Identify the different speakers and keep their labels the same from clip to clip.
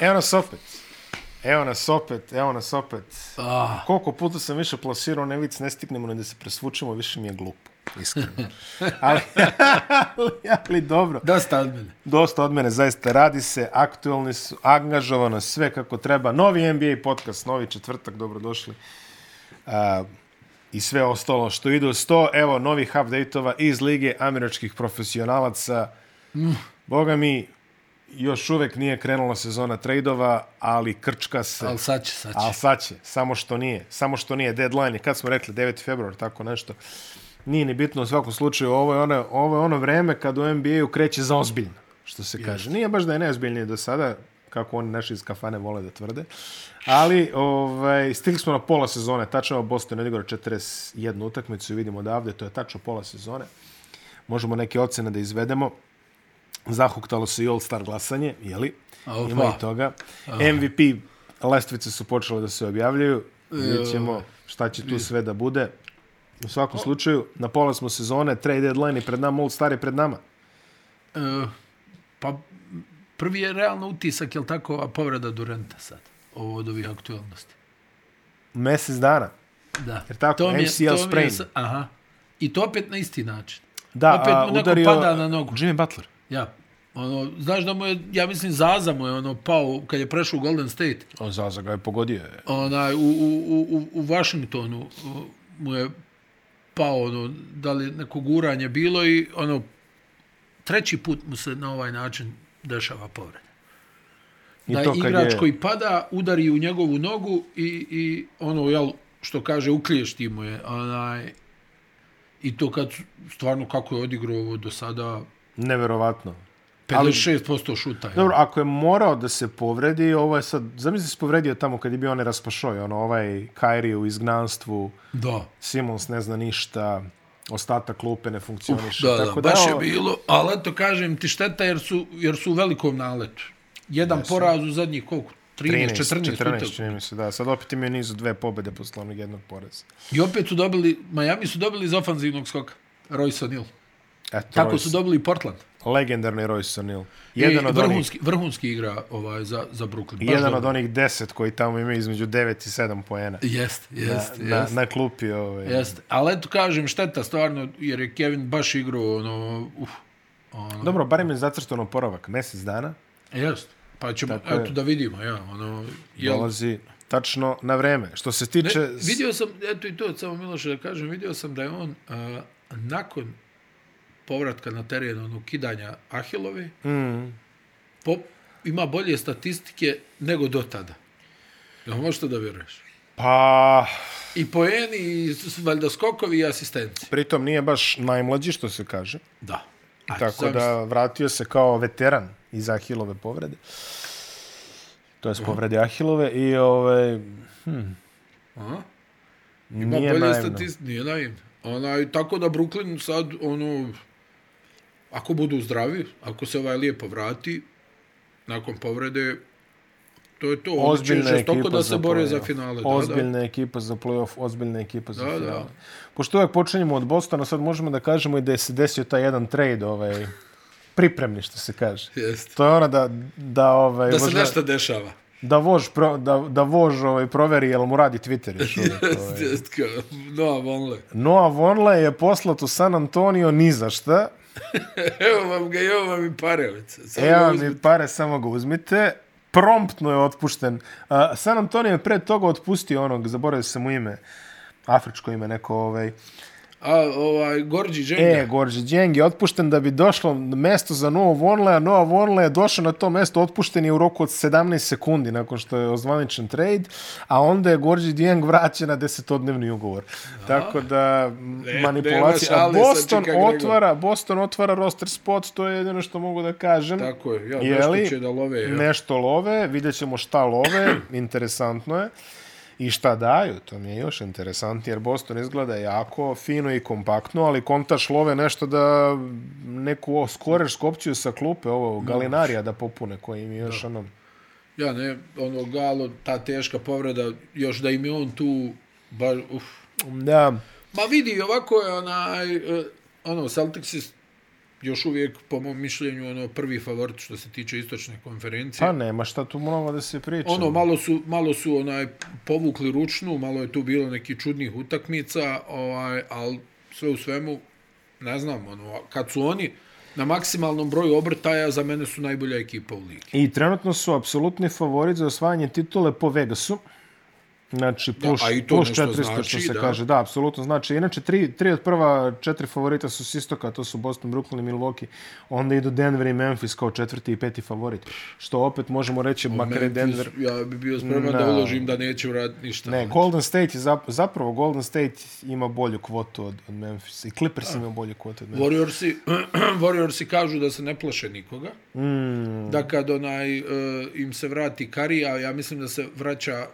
Speaker 1: Evo nas opet. Evo nas opet, evo nas opet.
Speaker 2: Ah.
Speaker 1: Koliko puta sam više plasirao nevic, ne stignemo ni da se presvučemo, više mi je glupo. Iskreno. ali, ali, ali dobro.
Speaker 2: Dosta od mene.
Speaker 1: Dosta od mene zaista radi se, aktuelni su, angažovano sve kako treba. Novi NBA podcast, novi četvrtak, dobrodošli. A, I sve ostalo što ide uz to. Evo, novih update-ova iz Lige američkih profesionalaca. Boga mi, još uvek nije krenula sezona trejdova, ali krčka se.
Speaker 2: Ali sad će, sad će.
Speaker 1: Ali sad će, samo što nije. Samo što nije deadline. je, Kad smo rekli 9. februar, tako nešto. Nije ni bitno u svakom slučaju. Ovo je ono, ovo je ono vreme kad u NBA-u kreće za ozbiljno, što se kaže. Nije baš da je neozbiljnije do sada, kako oni naši iz kafane vole da tvrde. Ali ovaj, stigli smo na pola sezone. Tačno je Boston odigrao 41 utakmicu i vidimo odavde. To je tačno pola sezone. Možemo neke ocene da izvedemo. Zahuktalo se i All-Star glasanje, jeli?
Speaker 2: Opa.
Speaker 1: Ima i toga. MVP lestvice su počele da se objavljaju. Vidjet ćemo šta će tu sve da bude. U svakom slučaju, na pola smo sezone, trade deadline je pred nama, All-Star je pred nama.
Speaker 2: E, pa prvi je realno utisak, jel tako, ova povreda Durenta sad, ovo od ovih aktualnosti.
Speaker 1: Mesec dana.
Speaker 2: Da.
Speaker 1: Jer tako,
Speaker 2: mi je-
Speaker 1: MCL
Speaker 2: to mi je
Speaker 1: sprain.
Speaker 2: sa- Aha. I to opet na isti način.
Speaker 1: Da,
Speaker 2: opet
Speaker 1: a,
Speaker 2: mu neko
Speaker 1: udario
Speaker 2: pada na nogu.
Speaker 1: Jimmy Butler.
Speaker 2: Ja, ono, znaš da mu je, ja mislim, Zaza mu je ono pao kad je prešao u Golden State.
Speaker 1: O, Zaza ga je pogodio.
Speaker 2: Onaj, u, u, u, u- u Washingtonu o, mu je pao, ono, da li je neko guranje bilo i ono, treći put mu se na ovaj način dešava povreda.
Speaker 1: I
Speaker 2: da
Speaker 1: to kad
Speaker 2: igrač
Speaker 1: je...
Speaker 2: koji pada udari u njegovu nogu i, i ono, jel, što kaže, ukliješti mu je. Onaj, I to kad, stvarno, kako je odigrao ovo do sada,
Speaker 1: Neverovatno.
Speaker 2: 56% šuta. jel?
Speaker 1: Dobro, ako je morao da se povredi, ovo je sad... Zamisli se povredio tamo kad je bio onaj raspašoj, ono, ovaj Kairi u izgnanstvu,
Speaker 2: Da.
Speaker 1: Simons ne zna ništa, ostatak klupe ne funkcioniše.
Speaker 2: Da,
Speaker 1: tako
Speaker 2: da, baš je
Speaker 1: ovo-
Speaker 2: bilo, ali eto kažem ti šteta jer su, jer su u velikom naletu. Jedan poraz u zadnjih koliko? 13,
Speaker 1: 13,
Speaker 2: 14,
Speaker 1: 14
Speaker 2: 14
Speaker 1: čini mi se, da. Sad opet imaju nizu dve pobede posle onog jednog poreza.
Speaker 2: I opet su dobili, Miami su dobili iz ofanzivnog skoka. Royce O'Neal.
Speaker 1: Eto,
Speaker 2: Tako
Speaker 1: Royce,
Speaker 2: su dobili Portland.
Speaker 1: legendarni Royce O'Neal. Jedan,
Speaker 2: Jedan I
Speaker 1: od onih,
Speaker 2: vrhunski, vrhunski igra ovaj, za, za Brooklyn. Baš ono.
Speaker 1: jedan
Speaker 2: dobro.
Speaker 1: od onih deset koji tamo imaju između 9 i 7 poena.
Speaker 2: Jest, jest,
Speaker 1: Na,
Speaker 2: jest.
Speaker 1: na klupi. Ovaj.
Speaker 2: Jeste, ali eto kažem, šteta stvarno, jer je Kevin baš igrao, ono, uf, ono,
Speaker 1: Dobro, barem je zacrtan oporavak. Mesec dana
Speaker 2: jest. Pa ćemo,
Speaker 1: Tako je.
Speaker 2: eto da vidimo, ja, ono, jel,
Speaker 1: dolazi tačno na vreme. Što se tiče...
Speaker 2: Ne, vidio sam, eto i to, samo Miloše da kažem, vidio sam da je on a, nakon povratka na teren, ono, kidanja Ahilove,
Speaker 1: Mm,
Speaker 2: pop, ima bolje statistike nego do tada. Ja možeš to da vjeruješ.
Speaker 1: pa,
Speaker 2: I poeni, i s- valjda skokovi i asistenci.
Speaker 1: pritom nije baš najmlađi, što se kaže.
Speaker 2: Da. A,
Speaker 1: Tako da vratio se kao veteran iz Ahilove povrede. To
Speaker 2: Mhm.
Speaker 1: je povrede Ahilove i ovaj,
Speaker 2: Aha. Ima
Speaker 1: nije
Speaker 2: bolje
Speaker 1: naivno.
Speaker 2: statistike, nije naivno. Onaj, tako da Brooklyn sad, ono, ako budu zdravi, ako se ovaj lijepo vrati, nakon povrede, to je to. Oni će
Speaker 1: Ozbiljna ekipa
Speaker 2: žestoko da se
Speaker 1: za
Speaker 2: bore
Speaker 1: play-off.
Speaker 2: za finale. Da,
Speaker 1: Ozbiljna ekipa za play-off, ozbiljna ekipa za
Speaker 2: Da, da.
Speaker 1: finale. Pošto uvek počinjemo od Bostona, sad možemo da kažemo i da je se desio taj jedan trade, ovaj, pripremni što se kaže.
Speaker 2: da. Jeste.
Speaker 1: To je ona da, da, ovaj,
Speaker 2: Da se
Speaker 1: možda-
Speaker 2: nešto dešava.
Speaker 1: da vož, pro, da, da vož ovaj, proveri jel mu radi Twitter još uvijek. Ovaj.
Speaker 2: Jeste, kao, no, vonle.
Speaker 1: Noah Vonleh je poslat u San Antonio ni za šta.
Speaker 2: Evo vam ga, evo vam i parevice. Sad ga
Speaker 1: Evo
Speaker 2: uzmi-
Speaker 1: mi pare, samo ga uzmite. Promptno je otpušten. A, San Antonio je pre toga otpustio onog, zaboravio sam mu ime, afričko ime neko ovaj.
Speaker 2: A, ovaj, Gorđi Dženga.
Speaker 1: E, Gorđe Djeng je otpušten da bi došlo mesto za Noah Vonlea. Noah Vonlea je došao na to mesto, otpušten je u roku od 17 sekundi nakon što je ozvaničen trade, a onda je Gorđe Djeng vraćen na desetodnevni ugovor. Tako da, m,
Speaker 2: Ne-
Speaker 1: manipulacija. A
Speaker 2: nema šale sa
Speaker 1: Boston
Speaker 2: Chicago Gregor.
Speaker 1: otvara, Boston otvara roster spot, to je jedino što mogu da kažem.
Speaker 2: Tako je, ja,
Speaker 1: Jeli?
Speaker 2: nešto će da love. Ja.
Speaker 1: Nešto love, vidjet ćemo šta love, interesantno je. I šta daju, to mi je još interesantnije, jer Boston izgleda jako fino i kompaktno, ali kontaš love nešto da neku o- skorešku opciju sa klupe, ovo Galinarija da popune, koji im je još da. ono...
Speaker 2: Ja ne, ono Galo, ta teška povreda, još da im je on tu, baš, uf.
Speaker 1: Da,
Speaker 2: Ma vidi, ovako je onaj, e, ono, Celtics je još uvijek, po mom mišljenju, ono prvi favorit što se tiče istočne konferencije.
Speaker 1: Pa nema šta tu mnogo da se priča.
Speaker 2: Ono, malo su, malo su onaj povukli ručnu, malo je tu bilo neki čudnih utakmica, ovaj, ali sve u svemu, ne znam, ono, kad su oni na maksimalnom broju obrtaja, za mene su najbolja ekipa u ligi.
Speaker 1: I trenutno su apsolutni favorit za osvajanje titule po Vegasu. Znači, plus,
Speaker 2: a i to
Speaker 1: plus
Speaker 2: nešto
Speaker 1: 400, znači, što
Speaker 2: znači,
Speaker 1: se
Speaker 2: da.
Speaker 1: kaže. Da, apsolutno znači. Inače, tri, tri od prva četiri favorita su s istoka, to su Boston, Brooklyn i Milwaukee. Onda idu Denver i Memphis kao četvrti i peti favorit. Što opet možemo reći, makar je
Speaker 2: Memphis,
Speaker 1: Denver...
Speaker 2: Ja bi bio spreman
Speaker 1: Na.
Speaker 2: da uložim da neće uraditi ništa.
Speaker 1: Ne, Golden State je zap, zapravo Golden State ima bolju kvotu od, od Memphisa. I Clippers ima bolju kvotu od Memphisa.
Speaker 2: Warriorsi, Warriorsi kažu da se ne plaše nikoga,
Speaker 1: Hmm.
Speaker 2: mm. da kad onaj, uh, im se vrati Kari, a ja mislim da se vraća,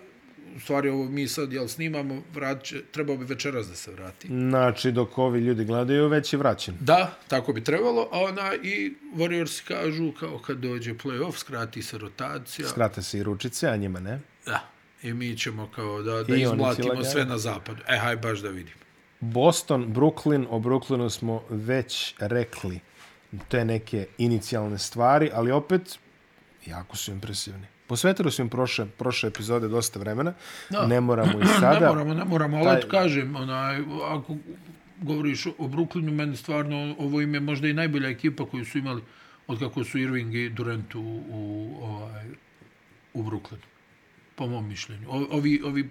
Speaker 2: u stvari ovo mi sad jel snimamo, vraća, trebao bi večeras da se vrati.
Speaker 1: Znači, dok ovi ljudi gledaju, već je vraćen.
Speaker 2: Da, tako bi trebalo, a ona i Warriorsi kažu kao kad dođe playoff, skrati se rotacija,
Speaker 1: Skrate se i ručice, a njima ne.
Speaker 2: da, i mi ćemo kao da,
Speaker 1: I
Speaker 2: da
Speaker 1: oni cijela
Speaker 2: izmlatimo
Speaker 1: gara.
Speaker 2: sve na zapadu. E, haj baš da vidim.
Speaker 1: Boston, Brooklyn, o Brooklynu smo već rekli te neke inicijalne stvari, ali opet jako su impresivni. Posvetili su im prošle, prošle epizode dosta vremena,
Speaker 2: Da.
Speaker 1: ne moramo i
Speaker 2: Ne
Speaker 1: sada.
Speaker 2: moramo, ne moramo, ali eto kažem, onaj, ako govoriš o Brooklynu, meni stvarno ovo im je možda i najbolja ekipa koju su imali od kako su Irving i Durant u, u, ovaj, u Brooklynu, po mom mišljenju. O, ovi, ovi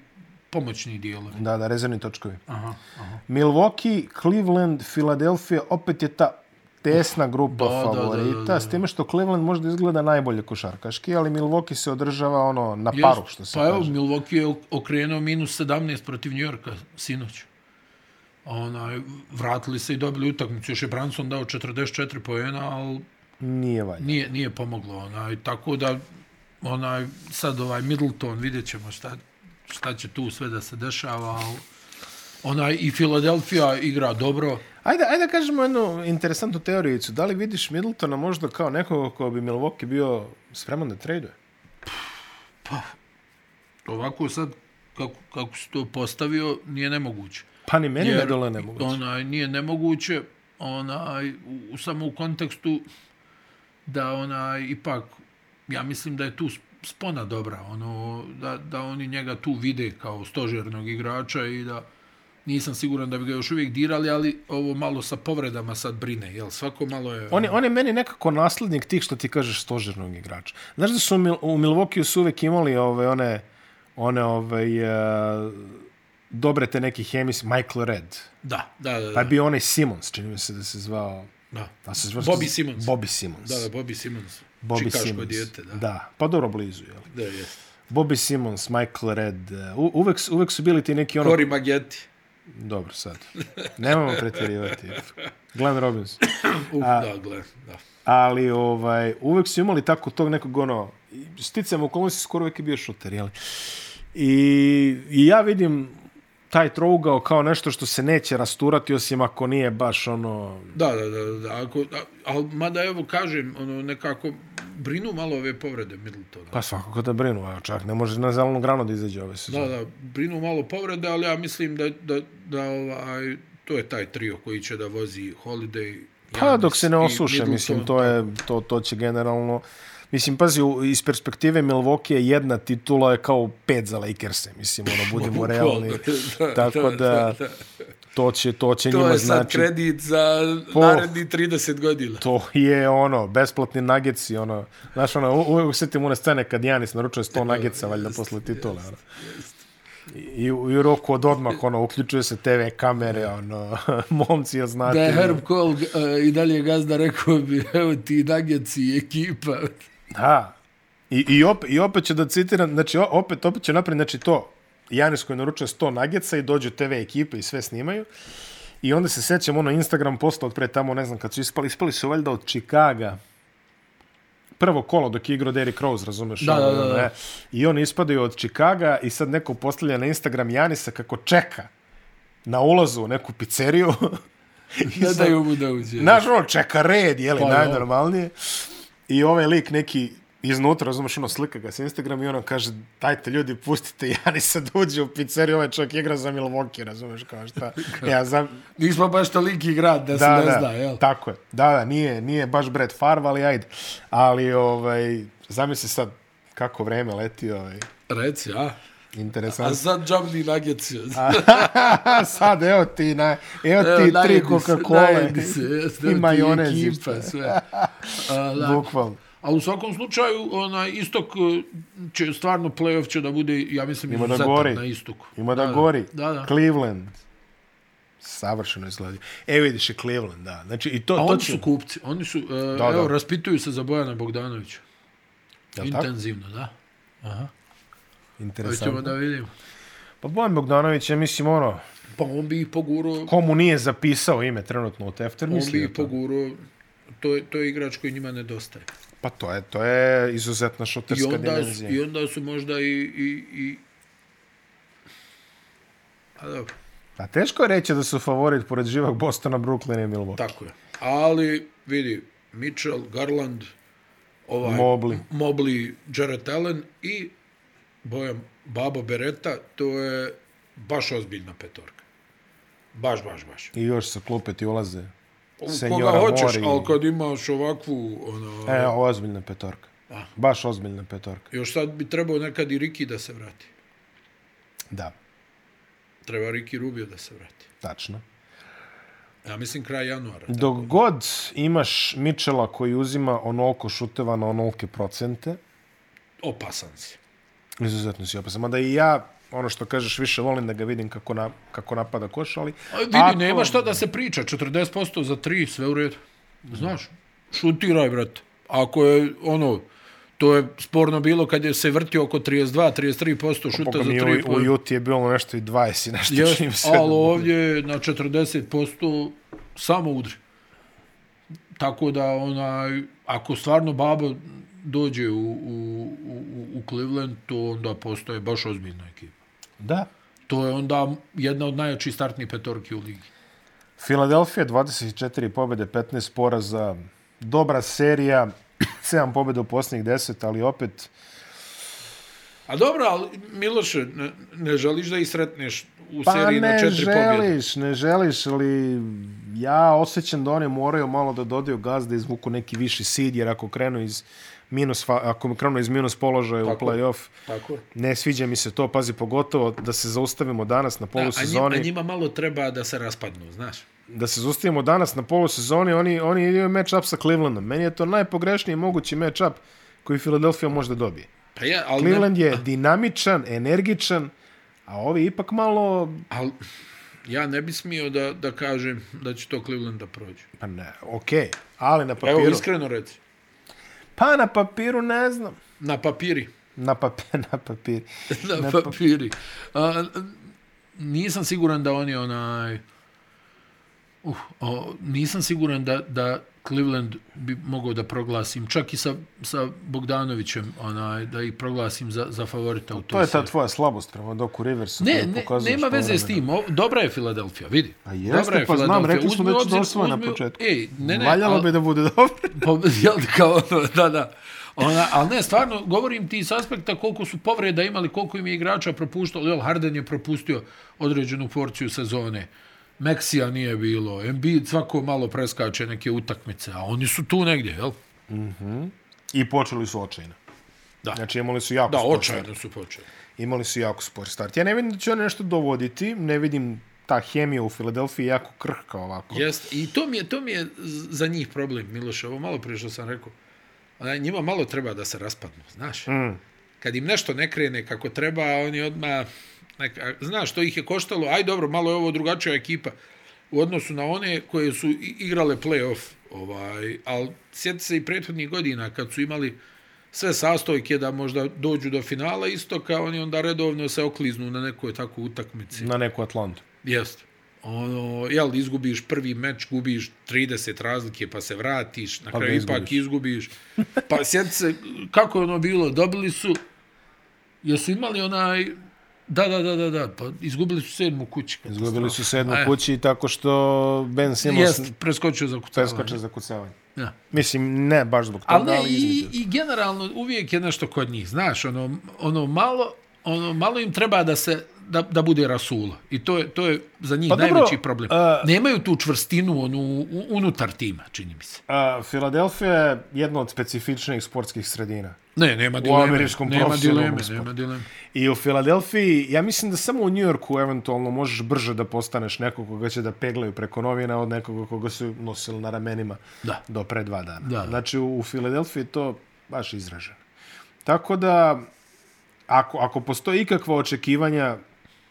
Speaker 2: pomoćni dijelovi.
Speaker 1: Da, da, rezervni točkovi.
Speaker 2: Aha, aha.
Speaker 1: Milwaukee, Cleveland, Philadelphia, opet je ta tesna grupa
Speaker 2: Da, da, da,
Speaker 1: favorita,
Speaker 2: da, da.
Speaker 1: s time što Cleveland možda izgleda najbolje košarkaški, ali Milwaukee se održava ono na
Speaker 2: Jest,
Speaker 1: paru, što se
Speaker 2: pa evo,
Speaker 1: kaže.
Speaker 2: Milwaukee je okrenuo minus 17 protiv Njorka sinoć. Onaj, vratili se i dobili utakmicu. Još je Branson dao 44 pojena, ali
Speaker 1: Nije valj.
Speaker 2: nije, nije pomoglo. Onaj, tako da, onaj, sad ovaj Middleton, vidjet ćemo šta, šta će tu sve da se dešava. al Onaj, i Filadelfija igra dobro.
Speaker 1: Ajde, ajde da kažemo jednu interesantnu teorijicu. Da li vidiš Middletona možda kao nekoga ko bi Milwaukee bio spreman da traduje?
Speaker 2: Ovako sad, kako, kako se to postavio, nije nemoguće.
Speaker 1: Pa ni meni ne dole nemoguće.
Speaker 2: Onaj, nije nemoguće, onaj, u- u, samo u kontekstu da onaj, ipak, ja mislim da je tu sp- spona dobra, ono, da, da oni njega tu vide kao stožernog igrača i da nisam siguran da bi ga još uvijek dirali, ali ovo malo sa povredama sad brine, jel, svako malo je...
Speaker 1: On je, on je meni nekako naslednik tih što ti kažeš stožernog igrača. Znaš da su u, Mil u Milwaukee su uvek imali ove, one, one ove, e, dobre te neki hemis, Michael Red.
Speaker 2: Da, da, da,
Speaker 1: Pa
Speaker 2: da,
Speaker 1: je bio onaj Simons, čini mi se da se zvao...
Speaker 2: da.
Speaker 1: Da se zvao
Speaker 2: Bobby Simmons.
Speaker 1: Bobby Simons.
Speaker 2: Da, da, Bobby Simmons.
Speaker 1: Bobby
Speaker 2: Čikaško
Speaker 1: Simmons.
Speaker 2: dijete, da.
Speaker 1: da. Pa dobro blizu, jel?
Speaker 2: Da, jeste.
Speaker 1: Bobby Simmons, Michael Red, e, u, uvek, su- uvek su bili ti neki ono
Speaker 2: Cory Maggette.
Speaker 1: Dobro, sad. Nemamo pretjerivati. Glenn Robbins.
Speaker 2: Uf, da, gle, da.
Speaker 1: Ali ovaj, uvek su imali tako tog nekog ono... Sticam okolnosti, skoro uvek je bio šuter, jel? I, I ja vidim taj trougao kao nešto što se neće rasturati, osim ako nije baš ono...
Speaker 2: Da, da, da, da. Ako, a, ali mada evo kažem, ono, nekako brinu malo ove povrede Middletona.
Speaker 1: Pa svakako da brinu, a čak ne može na zelenu granu da izađe ove
Speaker 2: Da,
Speaker 1: sezone.
Speaker 2: da, brinu malo povrede, ali ja mislim da, da, da ovaj, to je taj trio koji će da vozi Holiday,
Speaker 1: Pa
Speaker 2: Giannis
Speaker 1: dok se ne
Speaker 2: i
Speaker 1: osuše,
Speaker 2: Middleton.
Speaker 1: mislim, to, je, to, to će generalno... Mislim, pazi, u- iz perspektive Milwaukee jedna titula je kao pet za Lakers, mislim, ono, budimo realni.
Speaker 2: Da,
Speaker 1: Tako da, to će, to će
Speaker 2: To
Speaker 1: njima
Speaker 2: je sad
Speaker 1: znači...
Speaker 2: kredit za
Speaker 1: Po-
Speaker 2: naredni 30 godina.
Speaker 1: To je ono, besplatni nageci, ono, znaš, ono, u- uvijek usetim one scene kad Janis naručuje 100 nageca, valjda, posle titule, ono. I, i u roku od odmah, ono, uključuje se TV kamere, ono, momci, jel znate?
Speaker 2: Da je Herb Cole uh, i dalje gazda rekao bi, evo ti Nuggets i ekipa.
Speaker 1: Da. I, i, opet, I opet ću da citiram, znači o- opet, opet ću napraviti, znači to, Janis koji naručuje 100 nageca i dođu TV ekipe i sve snimaju. I onda se sećam ono Instagram posta od pre tamo, ne znam kad su ispali, ispali su valjda od Čikaga. Prvo kolo dok je igrao Derrick Rose, razumeš?
Speaker 2: Da,
Speaker 1: ono,
Speaker 2: da, da,
Speaker 1: ono,
Speaker 2: da.
Speaker 1: e. I oni ispadaju od Čikaga i sad neko postavlja na Instagram Janisa kako čeka na ulazu u neku pizzeriju. I
Speaker 2: Ne
Speaker 1: sad-
Speaker 2: daju mu da uđe.
Speaker 1: Znaš, ono, čeka red, jeli,
Speaker 2: Pa,
Speaker 1: pa, najnormalnije. I ovaj lik neki iznutra, razumeš, ono slika ga sa Instagram i ono kaže, dajte ljudi, pustite Janisa da uđe u pizzeriju, ovaj čovjek igra za Milwaukee, razumeš, kao šta. Ja, za,
Speaker 2: Nismo baš toliki grad da, se ne zna, jel?
Speaker 1: Tako je. Da, da, nije, nije baš Brad Favre, ali ajde. Ali, ovaj, zamisli sad kako vreme leti, ovaj,
Speaker 2: Reci, a? A
Speaker 1: interesantno.
Speaker 2: sad džamni nuggets.
Speaker 1: sad, evo ti, na, evo ti tri Coca-Cola i majonez.
Speaker 2: Ekipa, sve. A, da.
Speaker 1: Bukvalno.
Speaker 2: A u svakom slučaju, onaj istok eh, će stvarno play-off će da bude, ja mislim,
Speaker 1: Ima da
Speaker 2: izuzetan
Speaker 1: gori.
Speaker 2: na istoku.
Speaker 1: Ima da, gori.
Speaker 2: Da, da.
Speaker 1: Cleveland. Savršeno izgleda. E, vidiš i Cleveland, da. Znači, i to,
Speaker 2: A
Speaker 1: to
Speaker 2: oni
Speaker 1: će...
Speaker 2: su kupci. Oni su, uh,
Speaker 1: Da, da.
Speaker 2: evo, raspituju se za Bojana Bogdanovića.
Speaker 1: Jel tako?
Speaker 2: Intenzivno, da. Aha. Pa ćemo
Speaker 1: Interesantno.
Speaker 2: da vidimo.
Speaker 1: Pa Bojan Bogdanović je, mislim, ono,
Speaker 2: Pa on bi ih pogurao,
Speaker 1: komu nije zapisao ime trenutno u Tefter,
Speaker 2: on bi
Speaker 1: misli
Speaker 2: ih
Speaker 1: da to.
Speaker 2: pogurao. To je, to je igrač koji njima nedostaje.
Speaker 1: Pa to je, to je izuzetna
Speaker 2: I
Speaker 1: šuterska
Speaker 2: onda, su,
Speaker 1: dimenzija.
Speaker 2: I onda su možda i... i, i... A dobro,
Speaker 1: A teško je reći da su favorit pored živog Bostona, Brooklyna i Milwaukee.
Speaker 2: tako je. Ali, vidi, Mitchell, Garland, ovaj,
Speaker 1: Mobley.
Speaker 2: Mobley, Jarrett Allen i Bojan Babo Bereta, to je baš ozbiljna petorka. Baš, baš, baš.
Speaker 1: I još sa klupe ti ulaze.
Speaker 2: U
Speaker 1: Senjora
Speaker 2: koga hoćeš,
Speaker 1: Mori.
Speaker 2: ali kad imaš ovakvu, ono,
Speaker 1: E, ozbiljna petorka.
Speaker 2: Ah.
Speaker 1: Baš ozbiljna petorka.
Speaker 2: još sad bi trebao nekad i Riki da se vrati.
Speaker 1: Da,
Speaker 2: Treba Riki Rubio da se vrati.
Speaker 1: tačno.
Speaker 2: Ja mislim kraj januara.
Speaker 1: Dok god imaš Mičela koji uzima onoliko šuteva na onolike procente,
Speaker 2: Opasan si.
Speaker 1: izuzetno si opasan. Mada i ja, ono što kažeš, više volim da ga vidim kako, na, kako napada koš, ali...
Speaker 2: A Pa Vidi,
Speaker 1: Ako-
Speaker 2: nema šta da se priča. 40% za 3, sve u redu. Znaš, šutiraj, brate. Ako je, ono, to je sporno bilo kad je se vrtio oko 32-33% šuta
Speaker 1: Pa Boga
Speaker 2: za
Speaker 1: mi, u,
Speaker 2: 3.
Speaker 1: u Juti je bilo nešto i 20 i nešto
Speaker 2: Jes,
Speaker 1: čim se...
Speaker 2: ali ovdje je na 40% samo udri. Tako da, onaj, ako stvarno babo dođe u, u, u, u Cleveland, to onda postaje baš ozbiljna ekipa.
Speaker 1: Da.
Speaker 2: To je onda jedna od najjačih startnih petorki u ligi.
Speaker 1: Filadelfija 24 pobjede, 15 poraza, dobra serija, 7 pobjeda u posljednjih 10, ali opet
Speaker 2: A dobro, ali Miloše, ne, ne želiš da ih sretneš u pa
Speaker 1: Pa
Speaker 2: seriji na
Speaker 1: ne
Speaker 2: četiri pobjede?
Speaker 1: želiš, ne želiš, ali ja osjećam da oni moraju malo da dodaju gaz, da izvuku neki viši seed, jer ako krenu iz minus, fa- ako krenu iz minus položaja
Speaker 2: Tako
Speaker 1: u
Speaker 2: je.
Speaker 1: play-off,
Speaker 2: Tako je.
Speaker 1: ne sviđa mi se to, pazi, pogotovo da se zaustavimo danas na
Speaker 2: A njima,
Speaker 1: polusezoni,
Speaker 2: a njima malo treba da se raspadnu, znaš.
Speaker 1: da se zaustavimo danas na polusezoni, oni, oni idu match-up sa Clevelandom. Meni je to najpogrešniji mogući match-up koji Philadelphia može da dobije.
Speaker 2: Pa ja, ali ne-
Speaker 1: Cleveland je dinamičan, energičan, a ovi ipak malo
Speaker 2: Ali ja ne bi smio da, da kažem da će to Cleveland da prođe.
Speaker 1: Pa ne, okej, okay. ali na papiru...
Speaker 2: Evo, iskreno reci.
Speaker 1: Pa na papiru ne znam.
Speaker 2: Na papiri.
Speaker 1: Na, papir, na papiru.
Speaker 2: Na
Speaker 1: Na pa- pap-
Speaker 2: papiri. A, n- nisam siguran da oni onaj... Uh, o, nisam siguran da, da Cleveland bi mogao da proglasim, čak i sa, sa Bogdanovićem, onaj, da ih proglasim za, za favorita u toj
Speaker 1: Pa To je ta
Speaker 2: seriji.
Speaker 1: tvoja slabost prema Doku Riversu.
Speaker 2: Ne,
Speaker 1: koju
Speaker 2: ne
Speaker 1: pokazuješ
Speaker 2: nema veze s
Speaker 1: povremeno.
Speaker 2: tim. O, dobra je Filadelfija, vidi.
Speaker 1: A jeste, pa znam,
Speaker 2: Filadelfija.
Speaker 1: rekli smo
Speaker 2: Uzmi
Speaker 1: da
Speaker 2: u
Speaker 1: će da
Speaker 2: obzir-
Speaker 1: osvoje na
Speaker 2: uzmi u-
Speaker 1: početku.
Speaker 2: Ej, ne, ne,
Speaker 1: Valjalo
Speaker 2: ali-
Speaker 1: bi da bude dobro.
Speaker 2: Pa, jel, kao ono, da, da. Ona, ali ne, stvarno, govorim ti s aspekta koliko su povreda imali, koliko im je igrača propuštalo. Jel, Harden je propustio određenu porciju sezone. Meksija nije bilo. Embiid svako malo preskače neke utakmice, a oni su tu negdje, jel?
Speaker 1: I počeli su očajno.
Speaker 2: Da.
Speaker 1: Znači imali su jako
Speaker 2: Da,
Speaker 1: spor start.
Speaker 2: očajno su počeli.
Speaker 1: Imali su jako spor start. Ja ne vidim da će oni nešto dovoditi. Ne vidim ta hemija u Filadelfiji je jako krhka ovako.
Speaker 2: Jest, i to mi je, to mi je za njih problem, Miloše, ovo malo prije što sam rekao. Ona, njima malo treba da se raspadnu, znaš. Mm. Kad im nešto ne krene kako treba, oni odmah, neka, znaš, to ih je koštalo, aj dobro, malo je ovo drugačija ekipa u odnosu na one koje su i- igrale play-off, ovaj, ali sjeti se i prethodnih godina kad su imali sve sastojke da možda dođu do finala istoka, oni onda redovno se okliznu na nekoj takvoj utakmici.
Speaker 1: Na neku Atlantu.
Speaker 2: Jeste. Ono, jel, izgubiš prvi meč, gubiš 30 razlike, pa se vratiš, na
Speaker 1: Pa
Speaker 2: kraju
Speaker 1: ga
Speaker 2: ipak izgubiš. Pa sjeti se, kako je ono bilo, dobili su, jesu imali onaj, da, da, da, da, da, pa izgubili su sedmu kući.
Speaker 1: Izgubili su sedmu
Speaker 2: Aj.
Speaker 1: kući tako što Ben Simmons
Speaker 2: Jest, preskočio za kucavanje.
Speaker 1: preskoče za kucavanje.
Speaker 2: Ja.
Speaker 1: Mislim, ne baš zbog toga,
Speaker 2: Ali
Speaker 1: ali,
Speaker 2: ne,
Speaker 1: između.
Speaker 2: i, i generalno uvijek je nešto kod njih, znaš, ono, ono malo, ono malo im treba da se da, da bude rasula. I to je, to je za njih
Speaker 1: Pa
Speaker 2: pa,
Speaker 1: dobro,
Speaker 2: najveći dobro, problem.
Speaker 1: a-
Speaker 2: Uh, Nemaju tu čvrstinu onu, u- unutar tima, čini mi se.
Speaker 1: A, Filadelfija je jedna od specifičnijih sportskih sredina.
Speaker 2: Ne, nema dileme.
Speaker 1: američkom
Speaker 2: nema dileme,
Speaker 1: profesionalnom sportu.
Speaker 2: nema dileme.
Speaker 1: I u Filadelfiji, ja mislim da samo u Njujorku eventualno možeš brže da postaneš nekog koga će da peglaju preko novina od nekoga koga su nosili na ramenima
Speaker 2: Da.
Speaker 1: do pre dva dana.
Speaker 2: Da.
Speaker 1: Znači u, u Filadelfiji je to baš izraženo. Tako da, ako, ako postoje ikakva očekivanja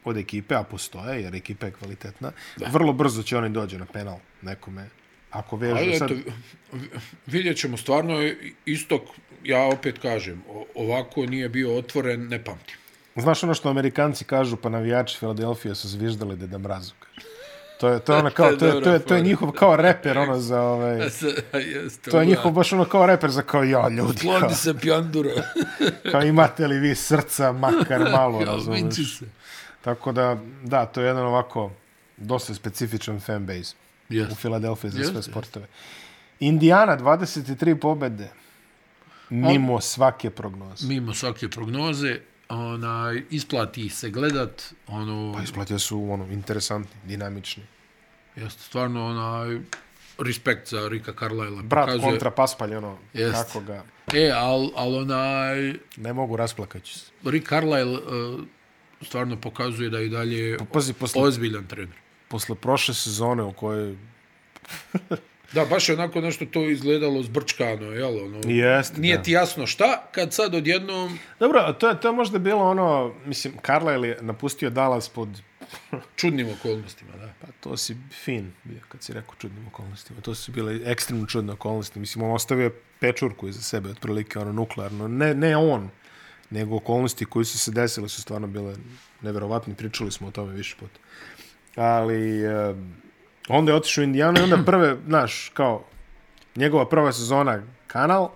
Speaker 1: od ekipe, a postoje jer ekipa je kvalitetna, da. vrlo brzo će oni dođe na penal nekome. Ako vežu
Speaker 3: Ali
Speaker 1: sad...
Speaker 3: eto, vi- vidjet ćemo, stvarno je istok, ja opet kažem, o- ovako nije bio otvoren, ne pamtim.
Speaker 1: Znaš ono što Amerikanci kažu, pa navijači Filadelfije su zviždali Deda Mrazu. kaže. To je to je ono kao to je to je, to je njihov kao reper ono za ovaj
Speaker 3: Jeste,
Speaker 1: to je njihov baš ono kao reper za kao ja ljudi. Kao,
Speaker 3: Klodi se pjanduro.
Speaker 1: kao imate li vi srca makar malo,
Speaker 2: Vinci
Speaker 1: razumeš?
Speaker 2: se.
Speaker 1: Tako da da, to je jedan ovako dosta specifičan fan base u
Speaker 2: Jeste.
Speaker 1: Filadelfiji za sve
Speaker 2: Jeste.
Speaker 1: sportove. Indiana 23 pobede mimo svake prognoze.
Speaker 2: Mimo svake prognoze, onaj, isplati ih se gledat, ono,
Speaker 1: Pa isplatio su ono interesantni, dinamični.
Speaker 2: jeste stvarno onaj, respekt za Rika Carlisle.
Speaker 1: Brat kontra Paspalj, ono,
Speaker 2: Jeste.
Speaker 1: kako ga...
Speaker 2: E, al, al onaj,
Speaker 1: Ne mogu, rasplakaću se.
Speaker 2: Rick Carlisle uh, stvarno pokazuje da i dalje
Speaker 1: Pazi, posle,
Speaker 2: ozbiljan trener.
Speaker 1: posle prošle sezone u kojoj...
Speaker 3: Da, baš je onako nešto to izgledalo zbrčkano, jel? Ono,
Speaker 1: Jeste,
Speaker 3: nije
Speaker 1: da.
Speaker 3: ti jasno šta, kad sad odjednom
Speaker 1: Dobro, a to je, to je možda bilo ono... Mislim, Carlisle je napustio Dallas pod...
Speaker 3: čudnim okolnostima, da.
Speaker 1: Pa to si fin bio, kad si rekao čudnim okolnostima. To su bile ekstremno čudne okolnosti. Mislim, on ostavio je pečurku iza sebe, otprilike, ono, nuklearno. Ne, ne on, nego okolnosti koje su se desile su stvarno bile neverovatne. Pričali smo o tome više puta. ali eh, onda je otišao u Indijanu i onda prve, znaš, kao njegova prva sezona kanal,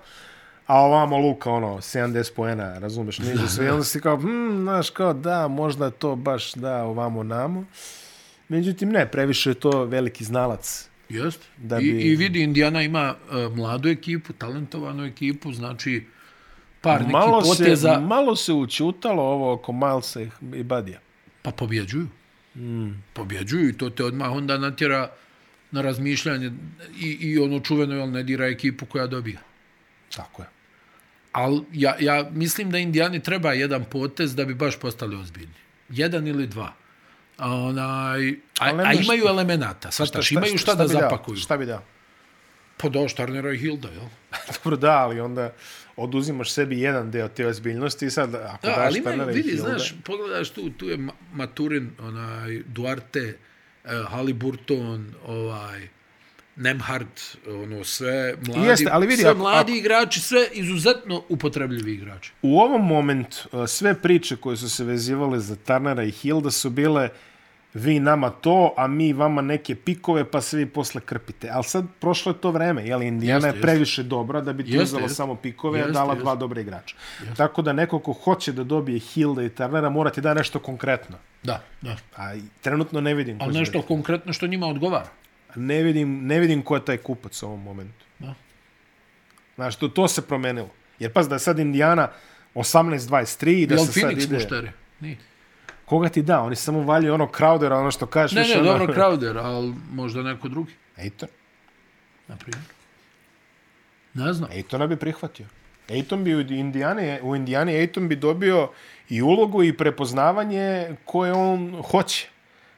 Speaker 1: a ovamo Luka, ono, 70 poena, razumeš, niže sve, i onda si kao, hmm, znaš, kao, da, možda je to baš, da, ovamo namo. Međutim, ne, previše je to veliki znalac.
Speaker 2: Jeste.
Speaker 1: Da
Speaker 2: Da
Speaker 1: bi-
Speaker 2: bi... I, I vidi, Indiana ima uh, mladu ekipu, talentovanu ekipu, znači par nekih
Speaker 1: Malo se,
Speaker 2: poteza,
Speaker 1: malo se učutalo ovo oko Milesa i- i Badija.
Speaker 2: pa pobjeđuju. Mm. Pobjeđuju i to te odmah onda natjera na razmišljanje i, i ono čuveno, jel, ne dira ekipu koja dobija.
Speaker 1: Tako je.
Speaker 2: Ali ja, ja mislim da Indijani treba jedan potez da bi baš postali ozbiljni. Jedan ili dva. A, onaj, a,
Speaker 1: ne
Speaker 2: a
Speaker 1: znaš
Speaker 2: imaju elemenata, svataš, imaju šta, da
Speaker 1: bi dao?
Speaker 2: zapakuju.
Speaker 1: Šta bi dao?
Speaker 3: Pa da, Štarnera i Hilda, jel?
Speaker 1: Dobro, da, ali onda oduzimaš sebi jedan deo te ozbiljnosti i sad ako
Speaker 2: Da,
Speaker 1: da, daš
Speaker 2: ali imaju,
Speaker 1: Turnera i
Speaker 2: vidi,
Speaker 1: Hilda-
Speaker 2: znaš, pogledaš tu, tu je Ma- Maturin, onaj, Duarte, eh, Haliburton, ovaj, Nemhart, ono, sve mladi,
Speaker 1: Jeste, ali vidi,
Speaker 2: sve
Speaker 1: ako-
Speaker 2: mladi igrači, sve izuzetno upotrebljivi igrači.
Speaker 1: U ovom momentu uh, sve priče koje su se vezivale za Tarnara i Hilda su bile vi nama to, a mi vama neke pikove, pa se vi posle krpite. Ali sad prošlo je to vreme, jel, Indijana
Speaker 2: Jeste,
Speaker 1: je
Speaker 2: jeste.
Speaker 1: previše dobra da bi ti
Speaker 2: Jeste,
Speaker 1: uzela
Speaker 2: jeste.
Speaker 1: samo pikove, a
Speaker 2: Jeste,
Speaker 1: dala
Speaker 2: jeste.
Speaker 1: dva dobra igrača. Tako da neko ko hoće da dobije Hilda i Tarnara mora ti da nešto konkretno.
Speaker 2: Da, da.
Speaker 1: A i trenutno ne vidim. ko
Speaker 2: Ali
Speaker 1: će
Speaker 2: nešto konkretno što njima odgovara.
Speaker 1: biti. Ne vidim, ne vidim ko je taj kupac u ovom momentu.
Speaker 2: Da.
Speaker 1: Znaš, to, to se promenilo. Jer pazi da je sad Indijana 18-23 i da
Speaker 2: Jel
Speaker 1: se sad
Speaker 2: Phoenix
Speaker 1: ide...
Speaker 2: muštere? Nije.
Speaker 1: Koga ti da? Oni samo valjaju ono Crowdera, ono što kažeš.
Speaker 2: Ne,
Speaker 1: više
Speaker 2: ne,
Speaker 1: ono...
Speaker 2: dobro, Crowder, ali možda neko drugi,
Speaker 1: Ejton.
Speaker 2: na primjer. Ne znam.
Speaker 1: Ejtona bi prihvatio. Ejton bi u Indijani, u Indijani Ejton bi dobio i ulogu i prepoznavanje koje on hoće.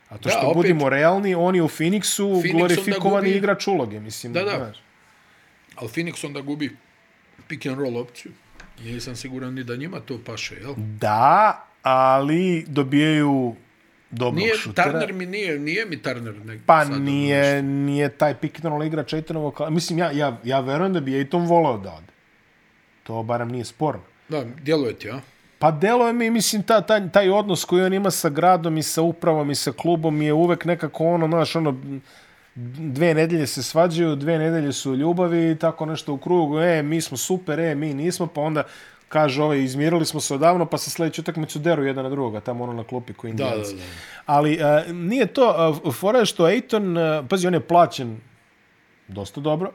Speaker 1: A to
Speaker 3: Da,
Speaker 1: što
Speaker 3: opet-
Speaker 1: budimo realni, on je u Phoenixu
Speaker 3: onda
Speaker 1: glorifikovani
Speaker 3: gubi-
Speaker 1: igrač uloge, mislim.
Speaker 3: Da, da.
Speaker 1: znaš.
Speaker 3: Ali Phoenix onda gubi pick and roll opciju. Nisam siguran ni da njima to paše, jel?
Speaker 1: Da, ali dobijaju dobrog
Speaker 3: Nije,
Speaker 1: šutera.
Speaker 3: Turner mi nije, nije mi Turner. Ne,
Speaker 1: Pa
Speaker 3: sad ono
Speaker 1: nije, nije taj pick and roll igrač Ejtonovo. kao- Mislim, ja, ja, ja verujem da bi Ejton volao da ode. To barem nije sporno.
Speaker 3: Da, djeluje ti, a?
Speaker 1: Pa deluje mi, mislim, ta, ta, taj odnos koji on ima sa gradom i sa upravom i sa klubom je uvek nekako ono, znaš, ono, dve nedelje se svađaju, dve nedelje su u ljubavi i tako nešto u krugu, e, mi smo super, e, mi nismo, pa onda kaže ovaj, izmirili smo se odavno, pa se sledeću utakmicu deru jedan na drugoga, tamo ono na klupi koji
Speaker 3: Da,
Speaker 1: indijanci.
Speaker 3: da, da.
Speaker 1: Ali a, nije e, to, a, fora je što Ejton, a, pazi, on je plaćen dosta dobro,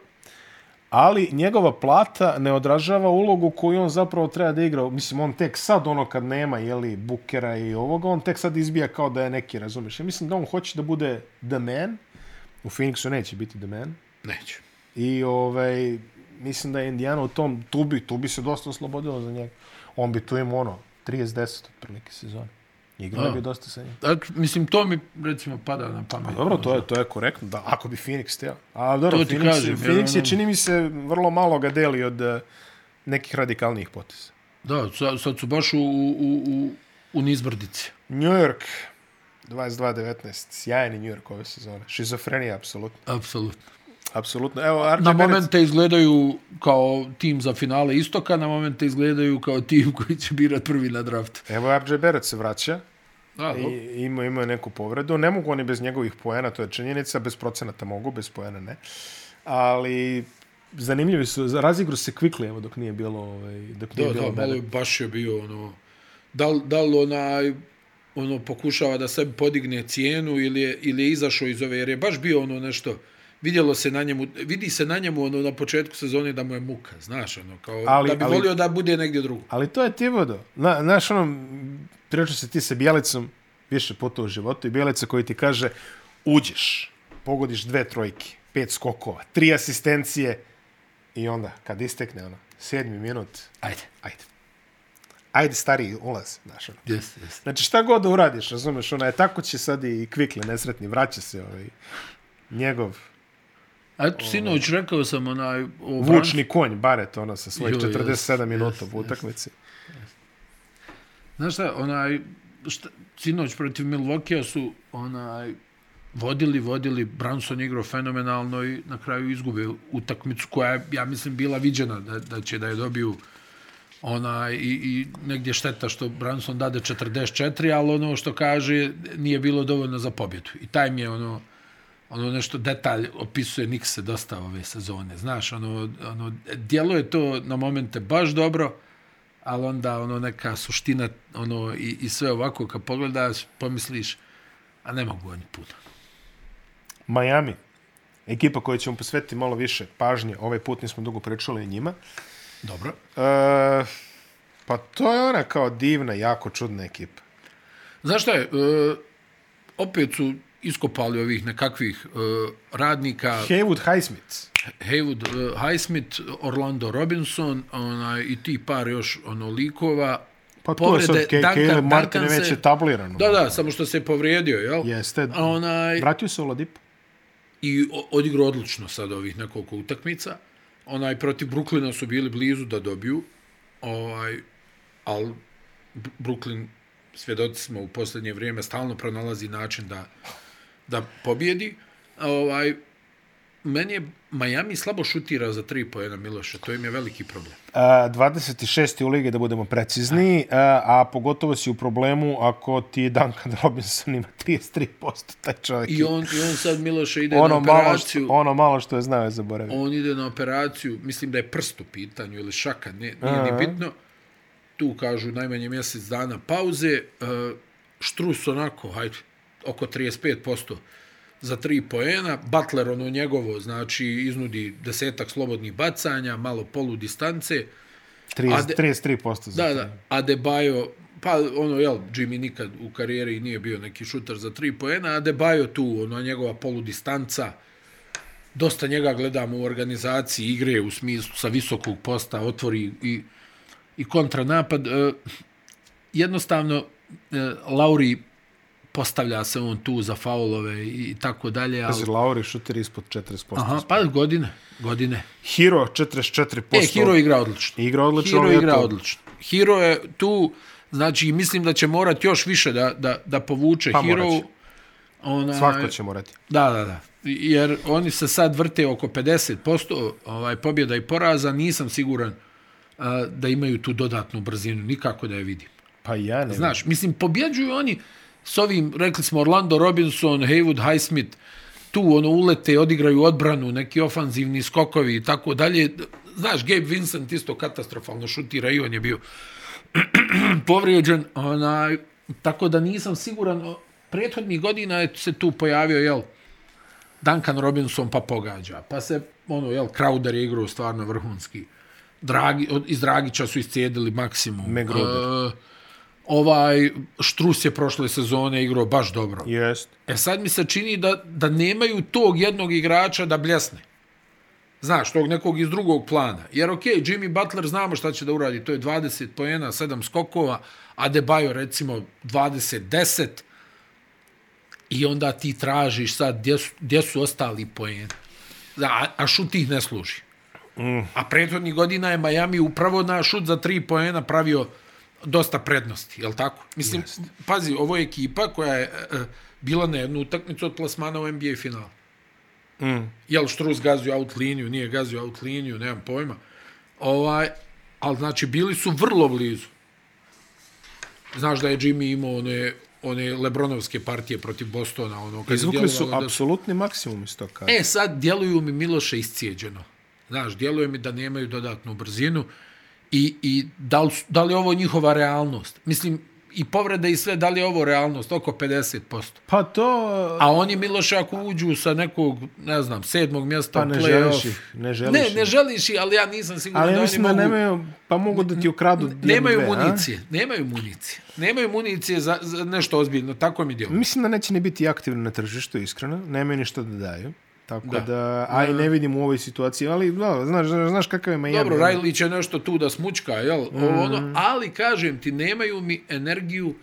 Speaker 1: ali njegova plata ne odražava ulogu koju on zapravo treba da igra. Mislim, on tek sad, ono kad nema, jeli, bukera i ovoga, on tek sad izbija kao da je neki, razumiješ? Ja mislim da on hoće da bude the man. U Phoenixu neće biti the man.
Speaker 3: Neće.
Speaker 1: I ovaj, mislim da je Indiana u tom, tu bi, tu bi se dosta oslobodilo za njega. On bi tu imao ono, 30-10 otprilike sezone. Igrao
Speaker 2: Da.
Speaker 1: bi dosta sa njim.
Speaker 2: Eto, mislim, to mi, recimo, pada na pamet.
Speaker 1: Pa Dobro, to je, to je korektno, da, ako bi Phoenix teo. A dobro,
Speaker 2: To ti
Speaker 1: Phoenix,
Speaker 2: kažem,
Speaker 1: kažem,
Speaker 2: jer
Speaker 1: Phoenix je,
Speaker 2: ono-
Speaker 1: čini mi se, vrlo malo ga deli od eh, nekih radikalnijih poteza.
Speaker 2: Da, sad, sad su baš u, u, u, u nizbrdici.
Speaker 1: New York, 22-19, sjajni New York ove sezone. Šizofrenija, apsolutno.
Speaker 2: Apsolutno.
Speaker 1: Apsolutno. Evo, RJ
Speaker 2: Na
Speaker 1: Barrett-
Speaker 2: momente izgledaju kao tim za finale Istoka, na momente izgledaju kao tim koji će birat prvi na draftu.
Speaker 1: Evo, RJ Barrett se vraća.
Speaker 2: Da,
Speaker 1: I, ima, ima neku povredu. Ne mogu oni bez njegovih poena, to je činjenica. Bez procenata mogu, bez poena ne. Ali zanimljivi su, za- razigru se kvikli, evo, dok nije bilo, ovaj, dok
Speaker 3: Da,
Speaker 1: nije bilo
Speaker 3: da, malo je
Speaker 1: Barrett.
Speaker 3: baš je bio ono... Da li, da li onaj ono pokušava da sebi podigne cijenu ili je, ili je izašao iz ove, jer je baš bio ono nešto, vidjelo se na njemu, vidi se na njemu ono na početku sezone da mu je muka, znaš, ono, kao
Speaker 1: Ali-
Speaker 3: da bi
Speaker 1: ali-
Speaker 3: volio da bude negdje drugo.
Speaker 1: Ali to je Tivodo. Na, znaš, ono, pričao se ti sa Bjelicom više puta u životu i Bjelica koji ti kaže uđeš, pogodiš dve trojke, pet skokova, tri asistencije i onda kad istekne ono, sedmi minut,
Speaker 2: Ajde.
Speaker 1: ajde. Ajde stariji ulaz, znaš ono.
Speaker 2: Jes, jes.
Speaker 1: Znači šta god da uradiš, razumeš, ona je tako će sad i Kvikle nesretni, vraća se ovaj, njegov
Speaker 2: A Eto, sinoć rekao sam onaj... O Vučni.
Speaker 1: vučni konj, Baret, ono, sa svojih
Speaker 2: Joj, jes,
Speaker 1: 47 minuta
Speaker 2: jes,
Speaker 1: u utakmici.
Speaker 2: Znaš šta, onaj... Šta, sinoć protiv Milvokija su onaj vodili, vodili, Branson igrao fenomenalno i na kraju izgube utakmicu koja je, ja mislim, bila viđena da, da će da je dobiju onaj, i, i negdje šteta što Branson dade 44, ali ono što kaže nije bilo dovoljno za pobjedu. I taj mi je ono, ono nešto detalj opisuje Nikse dosta ove sezone. Znaš, ono, ono, djelo je to na momente baš dobro, ali onda ono neka suština ono, i, i sve ovako kad pogledaš, pomisliš, a ne mogu oni puno.
Speaker 1: Miami, ekipa koja ćemo posvetiti malo više pažnje, ovaj put nismo dugo pričali o njima.
Speaker 2: Dobro.
Speaker 1: E, pa to je ona kao divna, jako čudna ekipa.
Speaker 2: Znaš šta je, e, opet su iskopali ovih nekakvih e, radnika,
Speaker 1: Haywood Highsmith.
Speaker 2: Haywood e, Highsmith, Orlando Robinson onaj, i ti par još ono, likova.
Speaker 1: Pa to je sad Ke- Caleb Martin je već
Speaker 2: se-
Speaker 1: etabliran.
Speaker 2: Da, da, samo što se povrijedio, jel?
Speaker 1: Jeste.
Speaker 2: A Onaj,
Speaker 1: Vratio se Oladipo.
Speaker 2: i o- odigrao odlično sad ovih nekoliko utakmica. Onaj protiv Brooklyna su bili blizu da dobiju, ovaj, ali B- Brooklyn, svjedoci smo u posljednje vrijeme, stalno pronalazi način da, da pobjedi. Ovaj, meni je Miami slabo šutira za tri pojena Miloša, to im je veliki problem.
Speaker 1: E, 26. u ligi, da budemo precizni, e, a pogotovo si u problemu ako ti Duncan Robinson ima 33%, taj čovjek.
Speaker 2: I on, i on sad Miloša ide na
Speaker 1: ono, malo što,
Speaker 2: operaciju.
Speaker 1: ono malo što je znao je zaboravio.
Speaker 2: on ide na operaciju, mislim da je prst u pitanju ili šaka, ne, nije ni bitno. Tu kažu najmanje mjesec dana pauze, uh, Štrus onako, hajde, oko 35% za tri poena, Butler ono njegovo, znači iznudi desetak slobodnih bacanja, malo polu distance,
Speaker 1: 30,
Speaker 2: Ade-
Speaker 1: 33% za
Speaker 2: da, da, Adebayo, pa ono, jel, Jimmy nikad u karijeri nije bio neki šuter za tri poena, Adebayo tu, ono, njegova poludistanca, dosta njega gledamo u organizaciji igre u smislu sa visokog posta, otvori i, i kontranapad. E, jednostavno, e, Lauri postavlja se on tu za faulove i tako dalje, ali...
Speaker 1: Pazi, Lauri šuter ispod 40%.
Speaker 2: Aha, pa godine, godine.
Speaker 1: Hero 44%.
Speaker 2: E, Hiro igra odlično.
Speaker 1: Igra odlično,
Speaker 2: Hiro
Speaker 1: ali
Speaker 2: igra
Speaker 1: eto-
Speaker 2: odlično. Hiro je tu, znači mislim da će morat još više da, da, da povuče
Speaker 1: Pa
Speaker 2: pa
Speaker 1: morat
Speaker 2: Hiro.
Speaker 1: će.
Speaker 2: Ona,
Speaker 1: Svatko će morati.
Speaker 2: Da, da, da. Jer oni se sad vrte oko 50% ovaj, pobjeda i poraza, nisam siguran a, da imaju tu dodatnu brzinu, nikako da je vidim.
Speaker 1: Pa ja ne
Speaker 2: Znaš, mislim, pobjeđuju oni s ovim, rekli smo, Orlando Robinson, Haywood Highsmith, tu ono ulete, odigraju odbranu, neki ofanzivni skokovi i tako dalje. Znaš, Gabe Vincent isto katastrofalno šutira i on je bio povrijeđen. Onaj, tako da nisam siguran, o, prethodnih godina je se tu pojavio, jel, Duncan Robinson pa pogađa. Pa se, ono, jel, Crowder je igrao stvarno vrhunski. Dragi, od, iz Dragića su iscijedili maksimum.
Speaker 1: Megroder.
Speaker 2: E, ovaj, Štrus je prošle sezone igrao baš dobro.
Speaker 1: Jest.
Speaker 2: E sad mi se čini da, da nemaju tog jednog igrača da bljesne. Znaš, tog nekog iz drugog plana. Jer okej, okay, Jimmy Butler znamo šta će da uradi. To je 20 pojena, 7 skokova, Adebayo recimo 20-10 i onda ti tražiš sad gdje su, gdje su ostali pojeni. A, a šut ih ne služi. Mm. A prethodnih godina je Miami upravo na šut za tri pojena pravio dosta prednosti, jel tako? Mislim, Jest. pazi, ovo je ekipa koja je e, e, bila na jednu utakmicu od plasmana u NBA finalu. Mm. Jel Štrus gazio out liniju, nije gazio out liniju, nemam pojma. Ovaj, ali znači, bili su vrlo blizu. Znaš da je Jimmy imao one, one Lebronovske partije protiv Bostona. Ono, kad je
Speaker 1: Izvukli su
Speaker 2: djelovalo da
Speaker 1: apsolutni maksimum iz toga.
Speaker 2: E, sad djeluju mi Miloše iscijeđeno. Znaš, djeluje mi da nemaju dodatnu brzinu i, i da, li, su- da li je ovo njihova realnost? Mislim, i povrede i sve, da li je ovo realnost? Oko 50%.
Speaker 1: Pa to...
Speaker 2: A oni Miloše ako uđu sa nekog, ne znam, sedmog mjesta
Speaker 1: Pa
Speaker 2: u
Speaker 1: ne želiš
Speaker 2: play-off.
Speaker 1: ih, ne želiš
Speaker 2: Ne,
Speaker 1: ih.
Speaker 2: ne želiš ih, ali ja nisam siguran
Speaker 1: Ali
Speaker 2: da
Speaker 1: ja
Speaker 2: oni
Speaker 1: mislim da
Speaker 2: mogu...
Speaker 1: nemaju, pa mogu da ti ukradu jednu,
Speaker 2: Nemaju
Speaker 1: dve, a?
Speaker 2: municije, nemaju municije. Nemaju municije za, za nešto ozbiljno, tako mi djeluje.
Speaker 1: Mislim da neće ni biti aktivni na tržištu, iskreno. Nemaju ništa da daju. Tako
Speaker 2: Da.
Speaker 1: da, da a i ne vidim u ovoj situaciji, ali da, znaš, znaš, znaš kakav je Miami.
Speaker 2: Dobro,
Speaker 1: ono.
Speaker 2: Riley će nešto tu da smučka, jel? Ovo, ono, ali kažem ti, nemaju mi energiju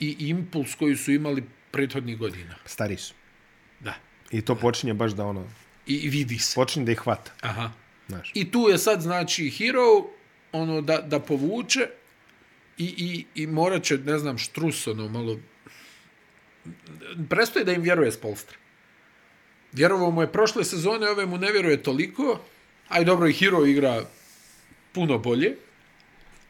Speaker 2: i impuls koji su imali prethodnih godina.
Speaker 1: Stari su.
Speaker 2: Da.
Speaker 1: I to počinje baš da ono,
Speaker 2: I, i vidi se.
Speaker 1: počinje da ih hvata.
Speaker 2: Aha.
Speaker 1: Znaš.
Speaker 2: I tu je sad, znači, hero, ono, da, da povuče i, i, i morat će, ne znam, štrus, ono, malo... Prestoje da im vjeruje Spolstra. Vjerovao mu je prošle sezone, ove mu ne vjeruje toliko. Aj, dobro, i hero igra puno bolje.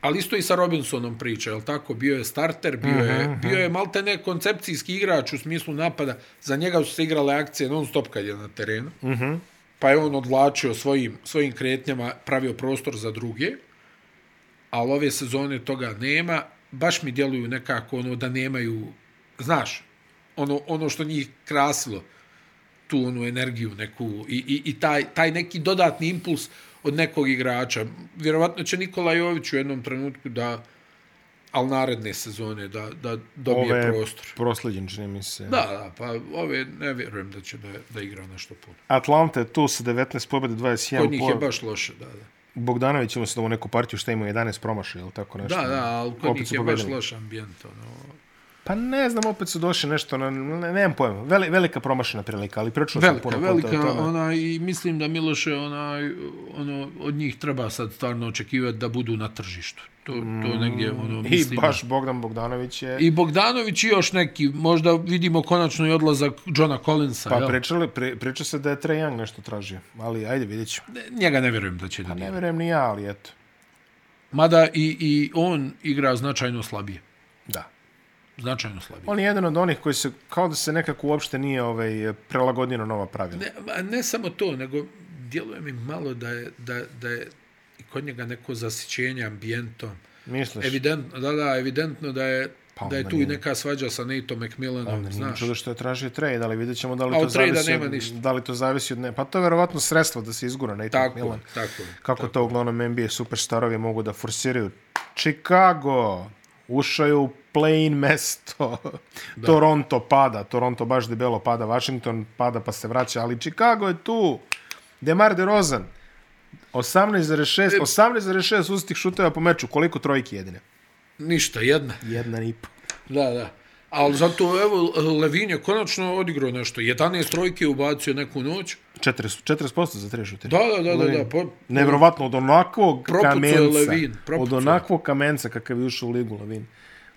Speaker 2: Ali isto i sa Robinsonom priča, je tako? Bio je starter, bio je, bio je malte ne koncepcijski igrač u smislu napada. Za njega su se igrale akcije non stop kad je na terenu pa je on odvlačio svojim, svojim kretnjama, pravio prostor za druge, ali ove sezone toga nema, baš mi djeluju nekako ono da nemaju, znaš, ono, ono što njih krasilo, tu onu energiju neku i, i, i taj, taj neki dodatni impuls od nekog igrača. Vjerovatno će Nikola Jović u jednom trenutku da, ali naredne sezone, da, da dobije
Speaker 1: Ove
Speaker 2: Ove... prostor.
Speaker 1: prosleđen, čini mi se.
Speaker 2: Da, da, pa ove ne vjerujem da će da, da igra nešto puno.
Speaker 1: Atlanta je tu sa 19 pobjede, 21
Speaker 2: Kod njih je
Speaker 1: poraz.
Speaker 2: baš loše, da, da.
Speaker 1: Bogdanović ima se da u neku partiju šta ima 11 promaša ili tako nešto.
Speaker 2: Da, da, ali kod
Speaker 1: Opet
Speaker 2: njih
Speaker 1: su
Speaker 2: je baš
Speaker 1: pobedili.
Speaker 2: loš ambijent. Ono.
Speaker 1: Pa ne znam, opet su došli nešto, na, ne, nemam pojma. Veli, velika promašena prilika, ali pričao sam
Speaker 2: Velika,
Speaker 1: puno puta o
Speaker 2: velika, ono,
Speaker 1: tome.
Speaker 2: ona, i mislim da Miloše, onaj, ono, od njih treba sad stvarno očekivati da budu na tržištu. To, to negdje, ono,
Speaker 1: Mm. I
Speaker 2: mislim.
Speaker 1: baš Bogdan Bogdanović je...
Speaker 2: I Bogdanović i još neki, možda vidimo konačno i odlazak Johna Collinsa.
Speaker 1: Pa
Speaker 2: jel?
Speaker 1: pričali, pri, priča se da je Trae Young nešto tražio, ali ajde vidjet ću.
Speaker 2: Ne- Njega ne vjerujem da će da
Speaker 1: Pa Ne
Speaker 2: nije.
Speaker 1: verujem ni ja, ali eto.
Speaker 2: Mada i, i on igra značajno slabije.
Speaker 1: Da.
Speaker 2: Značajno slabije.
Speaker 1: On je jedan od onih koji se, kao da se nekako uopšte nije ovaj, prelagodio na nova pravila.
Speaker 2: Ne, a ne samo to, nego djeluje mi malo da je, da, da je i kod njega neko zasićenje ambijentom.
Speaker 1: Misliš?
Speaker 2: Evidentno, da, da, evidentno da je,
Speaker 1: Pa
Speaker 2: pa da je
Speaker 1: onda
Speaker 2: tu i
Speaker 1: nije- Pa
Speaker 2: neka svađa sa Nateom
Speaker 1: Onda
Speaker 2: McMillanom,
Speaker 1: nije ni
Speaker 2: znaš.
Speaker 1: čudo što je tražio trade, ali vidjet ćemo da li,
Speaker 2: A
Speaker 1: to
Speaker 2: od trade-a
Speaker 1: zavisi
Speaker 2: nema
Speaker 1: od,
Speaker 2: ništa.
Speaker 1: da li to zavisi od ne. Pa to je verovatno sredstvo da se izgura Nathan
Speaker 2: Tako,
Speaker 1: Milan.
Speaker 2: tako.
Speaker 1: Kako to uglavnom NBA superstarovi mogu da forsiraju. Chicago ušao je u play-in mesto. Toronto pada. Toronto baš debelo pada. Washington pada pa se vraća. Ali Chicago je tu. Demar DeRozan. 18,6 18,6 ustih šuteva po meču. Koliko trojki jedine?
Speaker 2: Ništa, jedna.
Speaker 1: Jedna i po.
Speaker 2: Da, da. Ali zato, evo, Levin je konačno odigrao nešto. 11 trojke je ubacio neku noć.
Speaker 1: 40, 40% za tri šuteve.
Speaker 2: Da, da, da, da, da. Po,
Speaker 1: Nevrovatno, od onakvog
Speaker 2: Propucao je
Speaker 1: kamenca.
Speaker 2: Levin,
Speaker 1: od
Speaker 2: propucao.
Speaker 1: onakvog kamenca kakav je ušao u ligu Levin.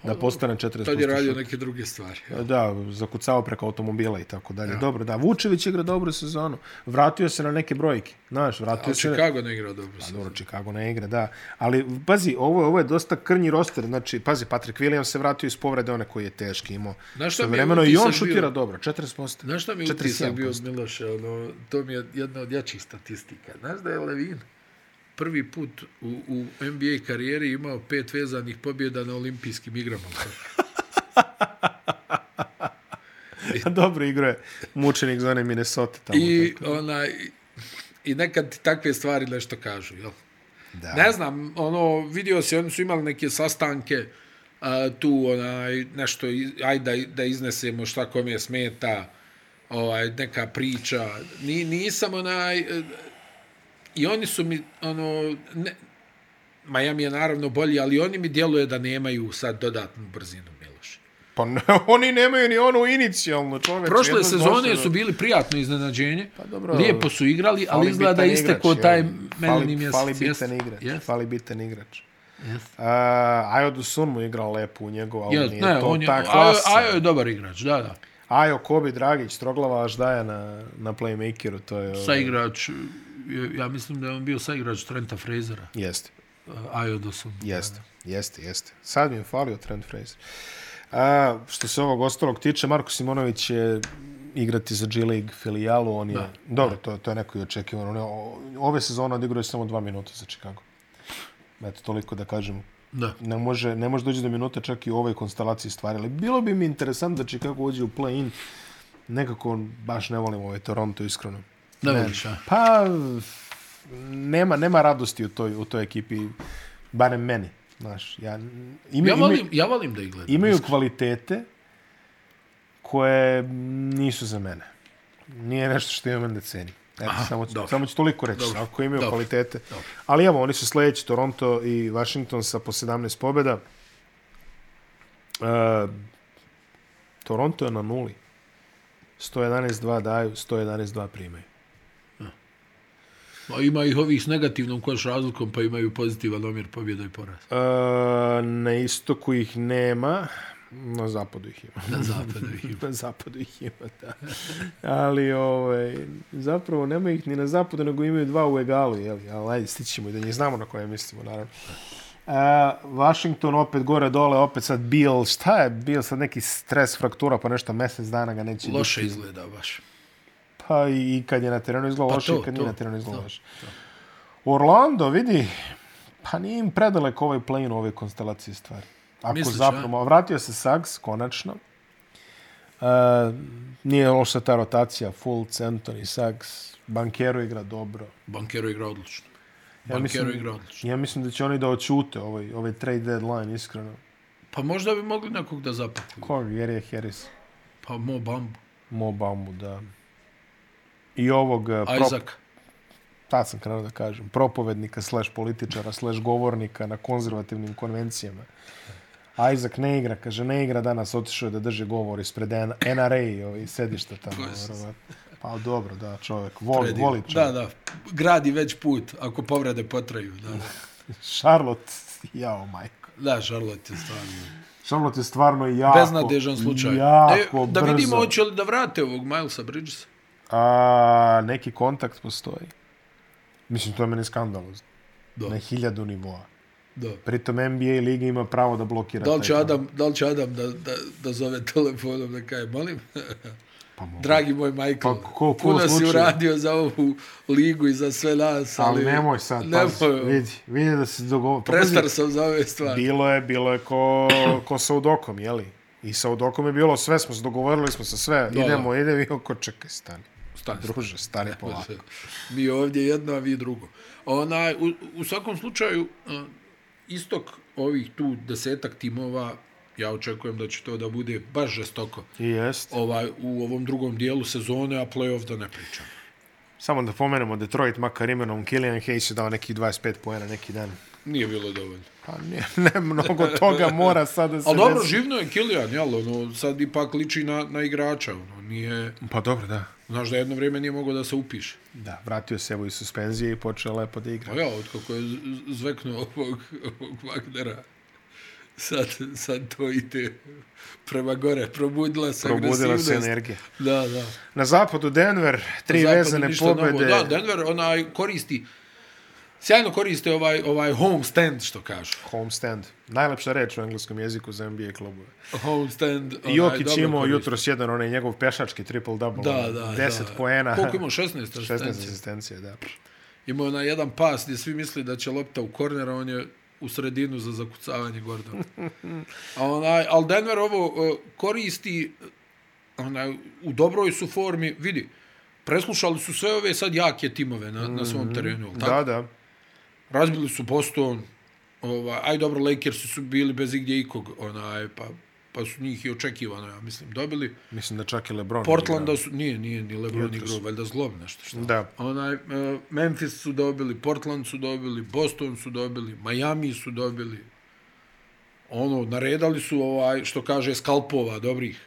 Speaker 1: Da postane 40%.
Speaker 2: Pa tad je radio
Speaker 1: šut.
Speaker 2: neke druge stvari.
Speaker 1: Da, zakucao preko automobila i tako dalje. Dobro, da, Vučević igra dobru sezonu. Vratio se na neke brojke. Znaš, vratio
Speaker 2: Ali
Speaker 1: se... na-
Speaker 2: Chicago ne igra dobro. sad.
Speaker 1: Pa Dobro, Chicago ne igra, da. Ali, pazi, ovo, je- ovo je dosta krnji roster. Znači, pazi, Patrick Williams se vratio iz povrede one koji je teški imao.
Speaker 2: Znaš šta mi je
Speaker 1: Vremeno i
Speaker 2: utisak
Speaker 1: on
Speaker 2: bio?
Speaker 1: šutira dobro, 40%.
Speaker 2: Znaš šta mi je utisak
Speaker 1: 47%.
Speaker 2: bio od Miloša, ono, to mi je jedna od jačih statistika. Znaš da je Levin prvi put u, u NBA karijeri imao pet vezanih pobjeda na olimpijskim igrama. I
Speaker 1: A dobro igro je mučenik zone Minnesota tamo.
Speaker 3: I, onaj, I nekad ti takve stvari nešto kažu, jel?
Speaker 1: da.
Speaker 3: Ne znam, ono, vidio se, oni su imali neke sastanke a, tu, onaj, nešto, i- aj da, da iznesemo šta kom je smeta, ovaj, neka priča. Ni, nisam, onaj, e, i oni su mi, ono, ne, Miami je naravno bolji, ali oni mi djeluje da nemaju sad dodatnu brzinu, Miloš.
Speaker 1: Pa ne, oni nemaju ni onu inicijalnu čoveče.
Speaker 3: Prošle
Speaker 1: jedno
Speaker 3: sezone
Speaker 1: zločeno.
Speaker 3: su bili prijatno iznenađenje. Pa
Speaker 1: dobro,
Speaker 3: Lijepo su igrali, ali
Speaker 1: Fali
Speaker 3: izgleda da
Speaker 1: bitan
Speaker 3: iste ko
Speaker 1: igrač,
Speaker 3: taj
Speaker 1: jel?
Speaker 3: meleni mjesec.
Speaker 1: Fali, fali
Speaker 3: jeste,
Speaker 1: bitan igrač.
Speaker 3: jeste,
Speaker 1: Fali bitan igrač.
Speaker 2: Jeste.
Speaker 1: Uh, Ajo Dusun mu igrao lepo u njegov, ali
Speaker 2: Jel,
Speaker 1: nije ne,
Speaker 2: ne,
Speaker 1: to
Speaker 2: on je,
Speaker 1: ta
Speaker 2: Ajo,
Speaker 1: klasa.
Speaker 2: Ajo je dobar igrač, da, da.
Speaker 1: Ajo Kobi Dragić, troglava daje na, na playmakeru, to je... ovaj,
Speaker 2: Saigrač, je- ja mislim da je on bio saigrač Trenta Frasera,
Speaker 1: Jeste,
Speaker 2: Ajo Dawson.
Speaker 1: jeste, jeste, jeste. Sad mi je falio Trent Fraser. A, što se ovog ostalog tiče, Marko Simonović će igrati za G League filijalu, on je... Da. Dobro, to, je- to je neko i očekivano. On je, o- ove sezone odigrao je samo dva minuta za Chicago. Eto, toliko da kažem
Speaker 2: Da.
Speaker 1: ne može, ne može doći do minuta čak i u ovoj konstelaciji stvari. Ali bilo bi mi interesantno da Chicago uđe u play-in. Nekako baš ne volim ovaj Toronto, iskreno.
Speaker 2: Ne voliš, a?
Speaker 1: Pa, nema, nema radosti u toj, u toj ekipi, barem meni. Znaš, ja, ime, ime,
Speaker 2: Ja volim, ja volim da ih gledam.
Speaker 1: imaju kvalitete koje nisu za mene. Nije nešto što imam da cenim. Eto, Aha, samo, ću,
Speaker 2: dobro.
Speaker 1: samo ću toliko reći,
Speaker 2: Dobro,
Speaker 1: dobro. ako imaju
Speaker 2: dobro,
Speaker 1: dobro. kvalitete. Dobro. Ali evo, oni su sljedeći, Toronto i Washington sa po 17 pobjeda. E, Toronto je na nuli. 111-2 daju, 111-2 primaju.
Speaker 2: Ma, Ima ih ovih s negativnom koš razlikom, pa imaju pozitivan omjer pobjeda i poraz.
Speaker 1: E, na istoku ih nema, na zapadu ih ima.
Speaker 2: Na zapadu ih ima.
Speaker 1: na zapadu ih ima, da. Ali, ovaj, zapravo nema ih ni na zapadu, nego imaju dva u egalu, jeli? Ali, ajde, stićemo i da njih znamo na koje mislimo, naravno. A, Washington opet gore dole, opet sad Bill, šta je Bill, sad neki stres, fraktura, pa nešto mjesec dana ga neće
Speaker 2: Loše izgleda baš.
Speaker 1: biti. Pa i, i kad je na terenu izgleda
Speaker 2: Pa
Speaker 1: loše,
Speaker 2: to,
Speaker 1: i kad nije
Speaker 2: to,
Speaker 1: na terenu izgleda
Speaker 2: to,
Speaker 1: loše. Orlando, vidi, pa nije im predaleko ovaj play-in u ovoj konstelaciji stvari. Ako
Speaker 2: Misliš,
Speaker 1: Misliš,
Speaker 2: a?
Speaker 1: zapravo, vratio se Sags, konačno. E, nije loša ta rotacija, Fultz, Anthony, Sags, Bankero igra dobro.
Speaker 2: Bankero igra odlično.
Speaker 1: Ja
Speaker 2: Bankero
Speaker 1: mislim-
Speaker 2: igra odlično.
Speaker 1: Ja mislim da će oni da očute ovaj, ovaj trade deadline, iskreno.
Speaker 2: Pa možda bi mogli nekog da zapakli.
Speaker 1: Koga jer je Harris?
Speaker 2: Pa Mo Bambu,
Speaker 1: Mo Bambu, da. I ovog e, prop,
Speaker 2: Isaac.
Speaker 1: tad sam krenuo da kažem, propovednika slash političara slash govornika na konzervativnim konvencijama. Isaac ne igra, kaže, ne igra danas, otišao je da drži govor ispred N- NRA i ovaj, sedišta tamo.
Speaker 2: Bože.
Speaker 1: verovatno. Pa dobro, da, čovjek, voli,
Speaker 2: Predivno.
Speaker 1: voli
Speaker 2: Da,
Speaker 1: čovjek.
Speaker 2: da. Gradi već put, ako povrede potraju. Da, da.
Speaker 1: Charlotte, jao majko.
Speaker 2: da Charlotte je stvarno.
Speaker 1: Charlotte je stvarno jako,
Speaker 2: Beznadežan slučaj. E,
Speaker 1: jako
Speaker 2: da, da
Speaker 1: brzo.
Speaker 2: vidimo hoće li da vrate ovog Milesa Bridgesa.
Speaker 1: A, neki kontakt postoji. Mislim, to je meni skandalozno.
Speaker 2: Da.
Speaker 1: Na hiljadu nivoa.
Speaker 2: Da.
Speaker 1: Pritom NBA Liga ima pravo da blokira
Speaker 2: Da li će
Speaker 1: taj
Speaker 2: Adam, da, li će Adam da, da, da zove telefonom da kaže, molim,
Speaker 1: Pa mogu.
Speaker 2: dragi moj Michael,
Speaker 1: Pa ko- ko
Speaker 2: puno si
Speaker 1: slučaj?
Speaker 2: uradio za ovu ligu i za sve nas, ali,
Speaker 1: Ali nemoj sad, nemoj. Pazi,
Speaker 2: nemoj,
Speaker 1: vidi, vidi da se dogovor... Pa,
Speaker 2: prestar
Speaker 1: pazi,
Speaker 2: sam za ove stvari.
Speaker 1: Bilo je, bilo je ko, ko sa Udokom, jeli? I sa Udokom je bilo sve, smo se dogovorili smo sa sve.
Speaker 2: Da,
Speaker 1: Da, idemo, da. idemo i oko čekaj, stani.
Speaker 2: Stani,
Speaker 1: Druže, stani polako.
Speaker 2: E, Mi ovdje jedno, a vi drugo. Onaj, u, u svakom slučaju, eh, istok ovih tu desetak timova, ja očekujem da će to da bude baš žestoko
Speaker 1: I jest.
Speaker 2: ovaj, u ovom drugom dijelu sezone, a play-off da ne pričam.
Speaker 1: Samo da pomenemo Detroit, makar imenom Killian Hayes je dao neki 25 poena neki dan.
Speaker 2: Nije bilo dovoljno.
Speaker 1: Pa ne, ne mnogo toga mora sad da se...
Speaker 2: Ali dobro,
Speaker 1: desi.
Speaker 2: živno je Kilian, jel, ono, sad ipak liči na, na igrača, ono, nije,
Speaker 1: Pa dobro, da.
Speaker 2: znaš da jedno vrijeme nije mogao da se upiše.
Speaker 1: Da, vratio se evo iz suspenzije i počeo lepo da igra.
Speaker 2: Pa ja, otkako je z- z- zveknuo ovog, ovog Wagnera, sad, sad to ide prema gore, probudila se
Speaker 1: Probudila se
Speaker 2: agresivnost.
Speaker 1: energija.
Speaker 2: Da, da.
Speaker 1: Na zapadu Denver, tri
Speaker 2: Zapadu
Speaker 1: vezane
Speaker 2: ništa novo.
Speaker 1: pobjede.
Speaker 2: Da, Denver, onaj, koristi, sjajno koriste ovaj, ovaj homestand, što kažu.
Speaker 1: Homestand. Najlepša reč u engleskom jeziku za NBA klubove.
Speaker 2: Homestand, onaj,
Speaker 1: Jokić
Speaker 2: dobro
Speaker 1: imao
Speaker 2: koriste.
Speaker 1: jutro sjedan onaj njegov pešački triple-double.
Speaker 2: Da, da,
Speaker 1: 10
Speaker 2: da.
Speaker 1: poena.
Speaker 2: Koliko imao? 16
Speaker 1: 16
Speaker 2: asistencija.
Speaker 1: asistencije, da.
Speaker 2: Imao je onaj jedan pas gdje svi misli da će lopta u kornera, on je u sredinu za zakucavanje Gordona. A onaj, al Denver ovo e, koristi onaj, u dobroj su formi, vidi, preslušali su sve ove sad jake timove na, na svom terenu. jel
Speaker 1: Da,
Speaker 2: Tako?
Speaker 1: da.
Speaker 2: Razbili su Boston, ovaj, aj dobro, Lakersi su bili bez igdje ikog, onaj, pa, pa su njih i očekivano, ja mislim, dobili.
Speaker 1: Mislim da čak i Lebron.
Speaker 2: Portlanda su, nije, nije ni Lebron igrao, valjda zlom nešto. Šta?
Speaker 1: Da.
Speaker 2: Onaj, e, Memphis su dobili, Portland su dobili, Boston su dobili, Miami su dobili. Ono, naredali su, ovaj, što kaže, skalpova dobrih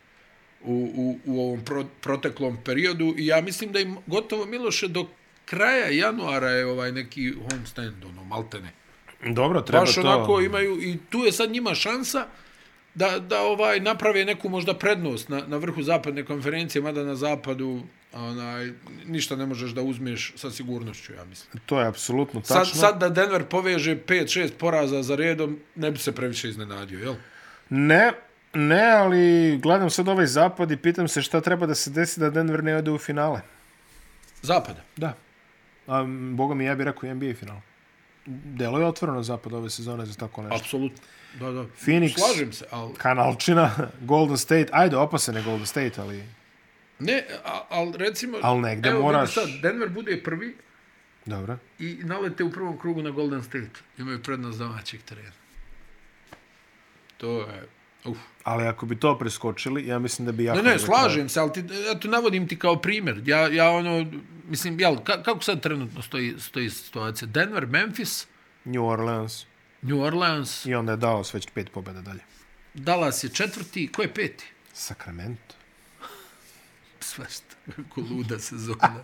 Speaker 2: u, u, u ovom pro, proteklom periodu i ja mislim da im gotovo Miloše do kraja januara je ovaj neki homestand, ono, maltene.
Speaker 1: Dobro, treba
Speaker 2: Baš
Speaker 1: to.
Speaker 2: onako imaju, i tu je sad njima šansa da, da ovaj naprave neku možda prednost na, na vrhu zapadne konferencije, mada na zapadu onaj, ništa ne možeš da uzmeš sa sigurnošću, ja mislim.
Speaker 1: To je apsolutno tačno.
Speaker 2: Sad, sad da Denver poveže 5-6 poraza za redom, ne bi se previše iznenadio, jel?
Speaker 1: Ne, ne, ali gledam sad ovaj zapad i pitam se šta treba da se desi da Denver ne ode u finale.
Speaker 2: Zapada.
Speaker 1: Da. A, m, boga mi, ja bih rekao i NBA final. Delo je otvoreno zapad ove sezone za tako nešto.
Speaker 2: Apsolutno. Da, da.
Speaker 1: Phoenix.
Speaker 2: Slažem se, ali...
Speaker 1: Kanalčina, Golden State, ajde, opasan je Golden State, ali
Speaker 2: Ne, a- ali recimo...
Speaker 1: Al negde
Speaker 2: evo,
Speaker 1: moraš.
Speaker 2: vidi Sad, Denver bude prvi
Speaker 1: dobro.
Speaker 2: i nalete u prvom krugu na Golden State. Imaju prednost domaćeg terena. To je... Uf.
Speaker 1: Ali ako bi to preskočili, ja mislim da bi jako...
Speaker 2: Ne, ne,
Speaker 1: bilo-
Speaker 2: slažem se, ali ti, eto, navodim ti kao primjer. Ja, ja ono, mislim, jel, ka, kako sad trenutno stoji, stoji situacija? Denver, Memphis,
Speaker 1: New Orleans.
Speaker 2: New Orleans,
Speaker 1: I onda je dao već pet pobjeda dalje.
Speaker 2: Dallas je četvrti, ko je peti?
Speaker 1: Sacramento.
Speaker 2: Svašta, kako luda sezona.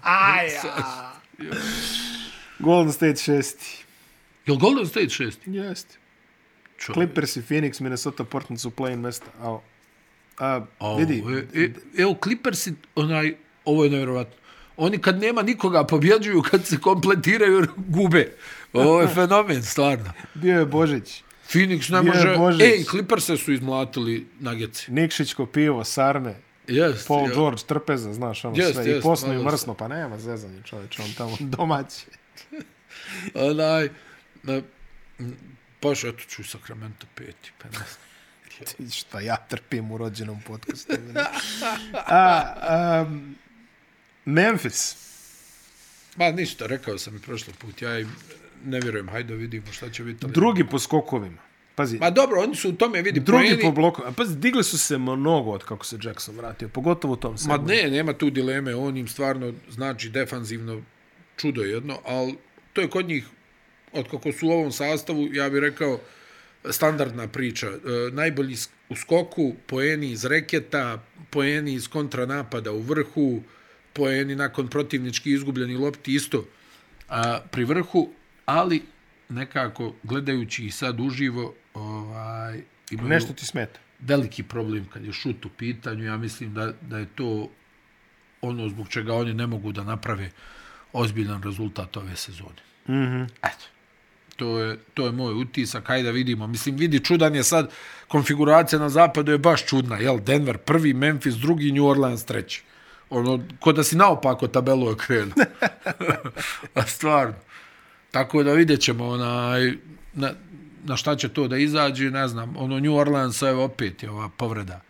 Speaker 2: Svašta.
Speaker 1: Golden State šesti.
Speaker 2: Jel Golden State šesti?
Speaker 1: Jeste.
Speaker 2: Čovjek.
Speaker 1: Clippers i Phoenix, Minnesota, Portland su play-in mesta. Ao. A, vidi,
Speaker 2: Ovo je- e, evo, Clippersi, onaj, ovo je nevjerovatno. Oni kad nema nikoga pobjeđuju, kad se kompletiraju, gube. Ovo je fenomen, stvarno.
Speaker 1: bio je Božić.
Speaker 2: Phoenix ne
Speaker 1: Bio je
Speaker 2: može...
Speaker 1: Božić.
Speaker 2: Ej, Clippers su izmlatili nageci.
Speaker 1: Nikšićko pivo, sarme,
Speaker 2: Yes,
Speaker 1: Paul George, trpeza, znaš, ono
Speaker 2: Jest,
Speaker 1: sve. I
Speaker 2: jest,
Speaker 1: posno i
Speaker 2: malo
Speaker 1: mrsno, pa nema zezanje čoveče, on tamo domaći.
Speaker 2: Onaj, ne, m, baš eto ću Sacramento peti, pa ne znam.
Speaker 1: Ti šta ja trpim u rođenom podcastu. mene. A, um, Memphis.
Speaker 2: Ma ništa, rekao sam i prošli put, ja im ne vjerujem, hajde da vidimo šta će biti. ali-
Speaker 1: Drugi po skokovima. Pazi,
Speaker 2: Ma dobro, oni su u tome, vidi,
Speaker 1: drugi
Speaker 2: poeni-
Speaker 1: po bloku. A pazi, digli su se mnogo od kako se Jackson vratio, pogotovo u tom
Speaker 2: Ma
Speaker 1: segmentu.
Speaker 2: ne, nema tu dileme, on im stvarno znači defanzivno čudo jedno, ali to je kod njih, otkako su u ovom sastavu, ja bih rekao, standardna priča. E, najbolji sk- u skoku, poeni iz reketa, poeni iz kontranapada u vrhu, poeni nakon protivnički izgubljeni lopti isto a, pri vrhu, ali nekako gledajući ih sad uživo, ovaj, imaju
Speaker 1: Nešto ti smeta.
Speaker 2: veliki problem kad je šut u pitanju. Ja mislim da, da je to ono zbog čega oni ne mogu da naprave ozbiljan rezultat ove sezone. Mm -hmm. Eto. To je, to je moj utisak, hajde da vidimo. Mislim, vidi, čudan je sad, konfiguracija na zapadu je baš čudna, jel? Denver prvi, Memphis drugi, New Orleans treći. Ono, ko da si naopako tabelu okrenuo. A stvarno. Tako da vidjet ćemo onaj, na, na šta će to da izađe, ne znam, ono New Orleans, evo opet je ova povreda.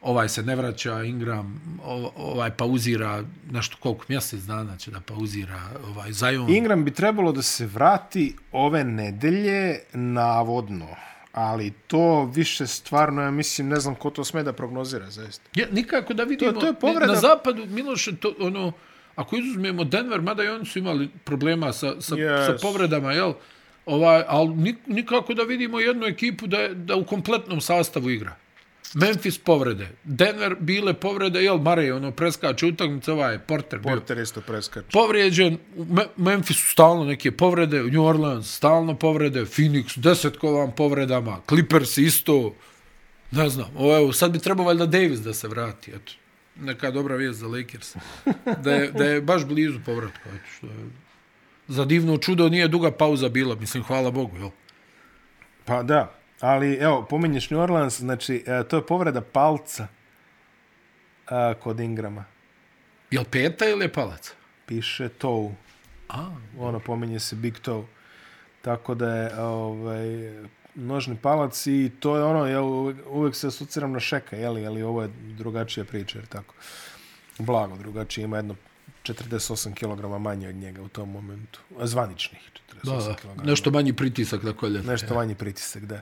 Speaker 2: Ovaj se ne vraća, Ingram, o- ovaj pauzira, nešto koliko mjesec dana će da pauzira, ovaj Zion.
Speaker 1: Ingram bi trebalo da se vrati ove nedelje, navodno. Ali to više stvarno, ja mislim, ne znam ko to sme da prognozira, zaista.
Speaker 2: Ja, nikako da vidimo.
Speaker 1: To- to je povreda.
Speaker 2: Na zapadu, Miloše, to, ono, ako izuzmemo Denver, mada i oni su imali problema sa, sa,
Speaker 1: Yes.
Speaker 2: yes. sa povredama, jel? Ovaj, ali nik, nikako da vidimo jednu ekipu da, je- da u kompletnom sastavu igra. Memphis povrede, Denver bile povrede, jel, Mare, ono, preskače utakmice, ovaj je Porter, bio
Speaker 1: Porter isto preskače.
Speaker 2: povrijeđen, u Me Memphisu stalno neke povrede, New Orleans stalno povrede, Phoenix desetkovan povredama, Clippers isto, ne znam, o, evo, sad bi trebao valjda Davis da se vrati, eto, neka dobra vijest za Lakers, da je, da je baš blizu povratka, eto, što je, za divno čudo nije duga pauza bila, mislim, hvala Bogu, jel?
Speaker 1: Pa da, ali evo, pominješ New Orleans, znači, e, to je povreda palca e, kod Ingrama.
Speaker 2: Jel peta ili je palac?
Speaker 1: Piše toe.
Speaker 2: A,
Speaker 1: Ono, pominje se big toe. Tako da je, ovaj, nožni palac i to je ono, ja uvek, uvek se asociram na šeka, jeli, ali ovo je drugačija priča, jer tako. Blago drugačije, ima jedno 48 kg manje od njega u tom momentu. Zvaničnih 48
Speaker 2: Da,
Speaker 1: kg.
Speaker 2: da, nešto manji pritisak na koljen.
Speaker 1: Nešto manji pritisak, da.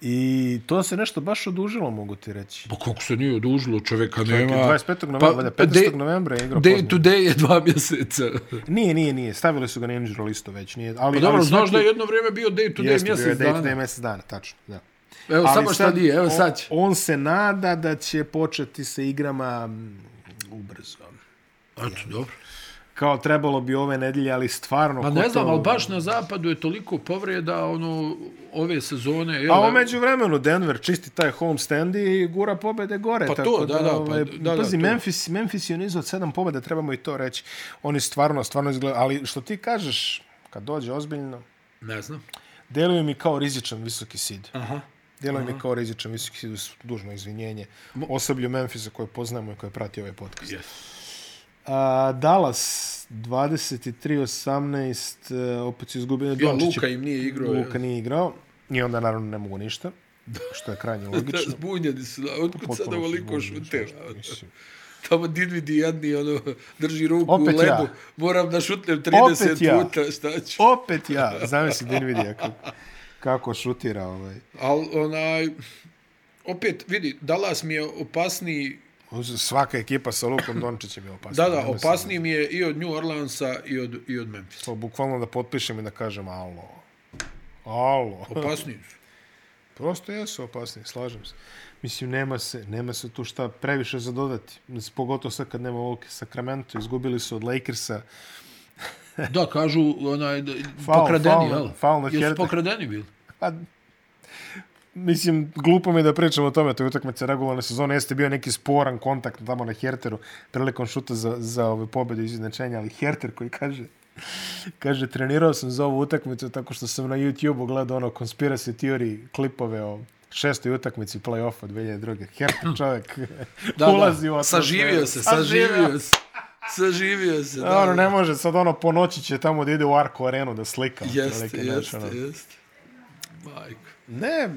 Speaker 1: I to se nešto baš odužilo, mogu ti reći.
Speaker 2: Pa kako se nije odužilo, čovjeka
Speaker 1: Čovjek
Speaker 2: nema.
Speaker 1: je 25. novembra,
Speaker 2: pa
Speaker 1: pa, 15.
Speaker 2: day-
Speaker 1: novembra je igrao
Speaker 2: Day
Speaker 1: pozno.
Speaker 2: to day je dva mjeseca.
Speaker 1: Nije, nije, nije. Stavili su ga na injury listu već. Nije, ali,
Speaker 2: Pa dobro,
Speaker 1: ali
Speaker 2: znaš
Speaker 1: svaki-
Speaker 2: da je jedno vrijeme bio day to day
Speaker 1: Jeste, bio je
Speaker 2: mjesec
Speaker 1: day to day
Speaker 2: dana.
Speaker 1: mjesec dana, tačno. Da.
Speaker 2: Evo,
Speaker 1: Ali
Speaker 2: samo šta
Speaker 1: sad
Speaker 2: nije, evo
Speaker 1: on-
Speaker 2: sad će.
Speaker 1: On se nada da će početi sa igrama mm, ubrzo.
Speaker 2: Eto, dobro.
Speaker 1: Kao trebalo bi ove nedelje, ali stvarno...
Speaker 2: Pa
Speaker 1: ko
Speaker 2: ne znam,
Speaker 1: to-
Speaker 2: ali baš na zapadu je toliko povreda ono, ove sezone. Jel,
Speaker 1: A umeđu vremenu Denver čisti taj homestand i gura pobede gore.
Speaker 3: Pa to,
Speaker 1: tako
Speaker 3: da, da, pa
Speaker 1: ovaj,
Speaker 3: da, da,
Speaker 1: pazi,
Speaker 3: to.
Speaker 1: Memphis, Memphis je u nizu od sedam pobeda, trebamo i to reći. Oni stvarno, stvarno izgledaju. Ali što ti kažeš, kad dođe ozbiljno,
Speaker 2: Ne znam.
Speaker 1: deluje mi kao rizičan visoki sid.
Speaker 3: Aha.
Speaker 1: Djeluje mi kao rizičan visoki sid uz dužno izvinjenje osoblju Memfisa koje poznamo i koje prati ovaj podcast.
Speaker 2: Yes.
Speaker 1: A, Dallas 23-18 e, opet su izgubili
Speaker 3: Ja,
Speaker 1: Dončić
Speaker 3: Luka
Speaker 1: je-
Speaker 3: im nije igrao.
Speaker 1: Luka nije igrao i onda naravno ne mogu ništa što je krajnje
Speaker 3: Da,
Speaker 1: logično.
Speaker 3: zbunjeni su. da, Otkud sad
Speaker 1: Potpuno su
Speaker 3: ovoliko
Speaker 1: zbunjeni,
Speaker 3: šuteva?
Speaker 1: što- mislim.
Speaker 3: Tamo Dinvidi jadni, ono, drži ruku
Speaker 1: Opet
Speaker 3: u lebu.
Speaker 1: ja.
Speaker 3: Moram da šutnem 30
Speaker 1: Opet ja.
Speaker 3: puta, šta ću?
Speaker 1: Opet ja, zamisli Dinvidija kako, kako šutira ovaj.
Speaker 3: Ali, onaj, opet, vidi, Dallas mi je opasniji
Speaker 1: Uz- Svaka ekipa sa Lukom Dončićem je opasna.
Speaker 3: Da, da,
Speaker 1: Nemoj se
Speaker 3: opasniji mi je i od New Orleansa i od, i od Memphisa.
Speaker 1: To bukvalno da potpišem i da kažem alo. Alo.
Speaker 3: Opasniji su.
Speaker 1: Prosto jesu opasni, slažem se. Mislim, nema se, nema se tu šta previše za dodati. Mislim, Pogotovo sad kad nema ovog Sacramento, izgubili su od Lakersa.
Speaker 2: Da, kažu onaj, da-
Speaker 1: Faul,
Speaker 2: pokradeni,
Speaker 1: faul,
Speaker 2: jel?
Speaker 1: faul na
Speaker 2: Jesu
Speaker 1: Hertek.
Speaker 2: pokradeni bili?
Speaker 1: Pa, mislim, glupo mi je da pričamo o tome, to je utakmica regularne sezone, jeste bio neki sporan kontakt tamo na Herteru prilikom šuta za, za ove pobjede i izjednačenja, ali Herter koji kaže kaže, trenirao sam za ovu utakmicu tako što sam na YouTube-u gledao ono conspiracy theory klipove o šestoj utakmici play-offa 2002. Herter čovjek
Speaker 2: Da,
Speaker 1: ulazi u
Speaker 2: da.
Speaker 1: atmosferu.
Speaker 2: Saživio se, saživio se.
Speaker 3: Saživio se, da.
Speaker 1: Dobro, ne može, sad ono po noći će tamo da ide u Arko arenu da slika.
Speaker 3: Jeste,
Speaker 1: otprilike, znaš,
Speaker 3: jeste,
Speaker 1: ono.
Speaker 3: jeste. Majko.
Speaker 1: Ne,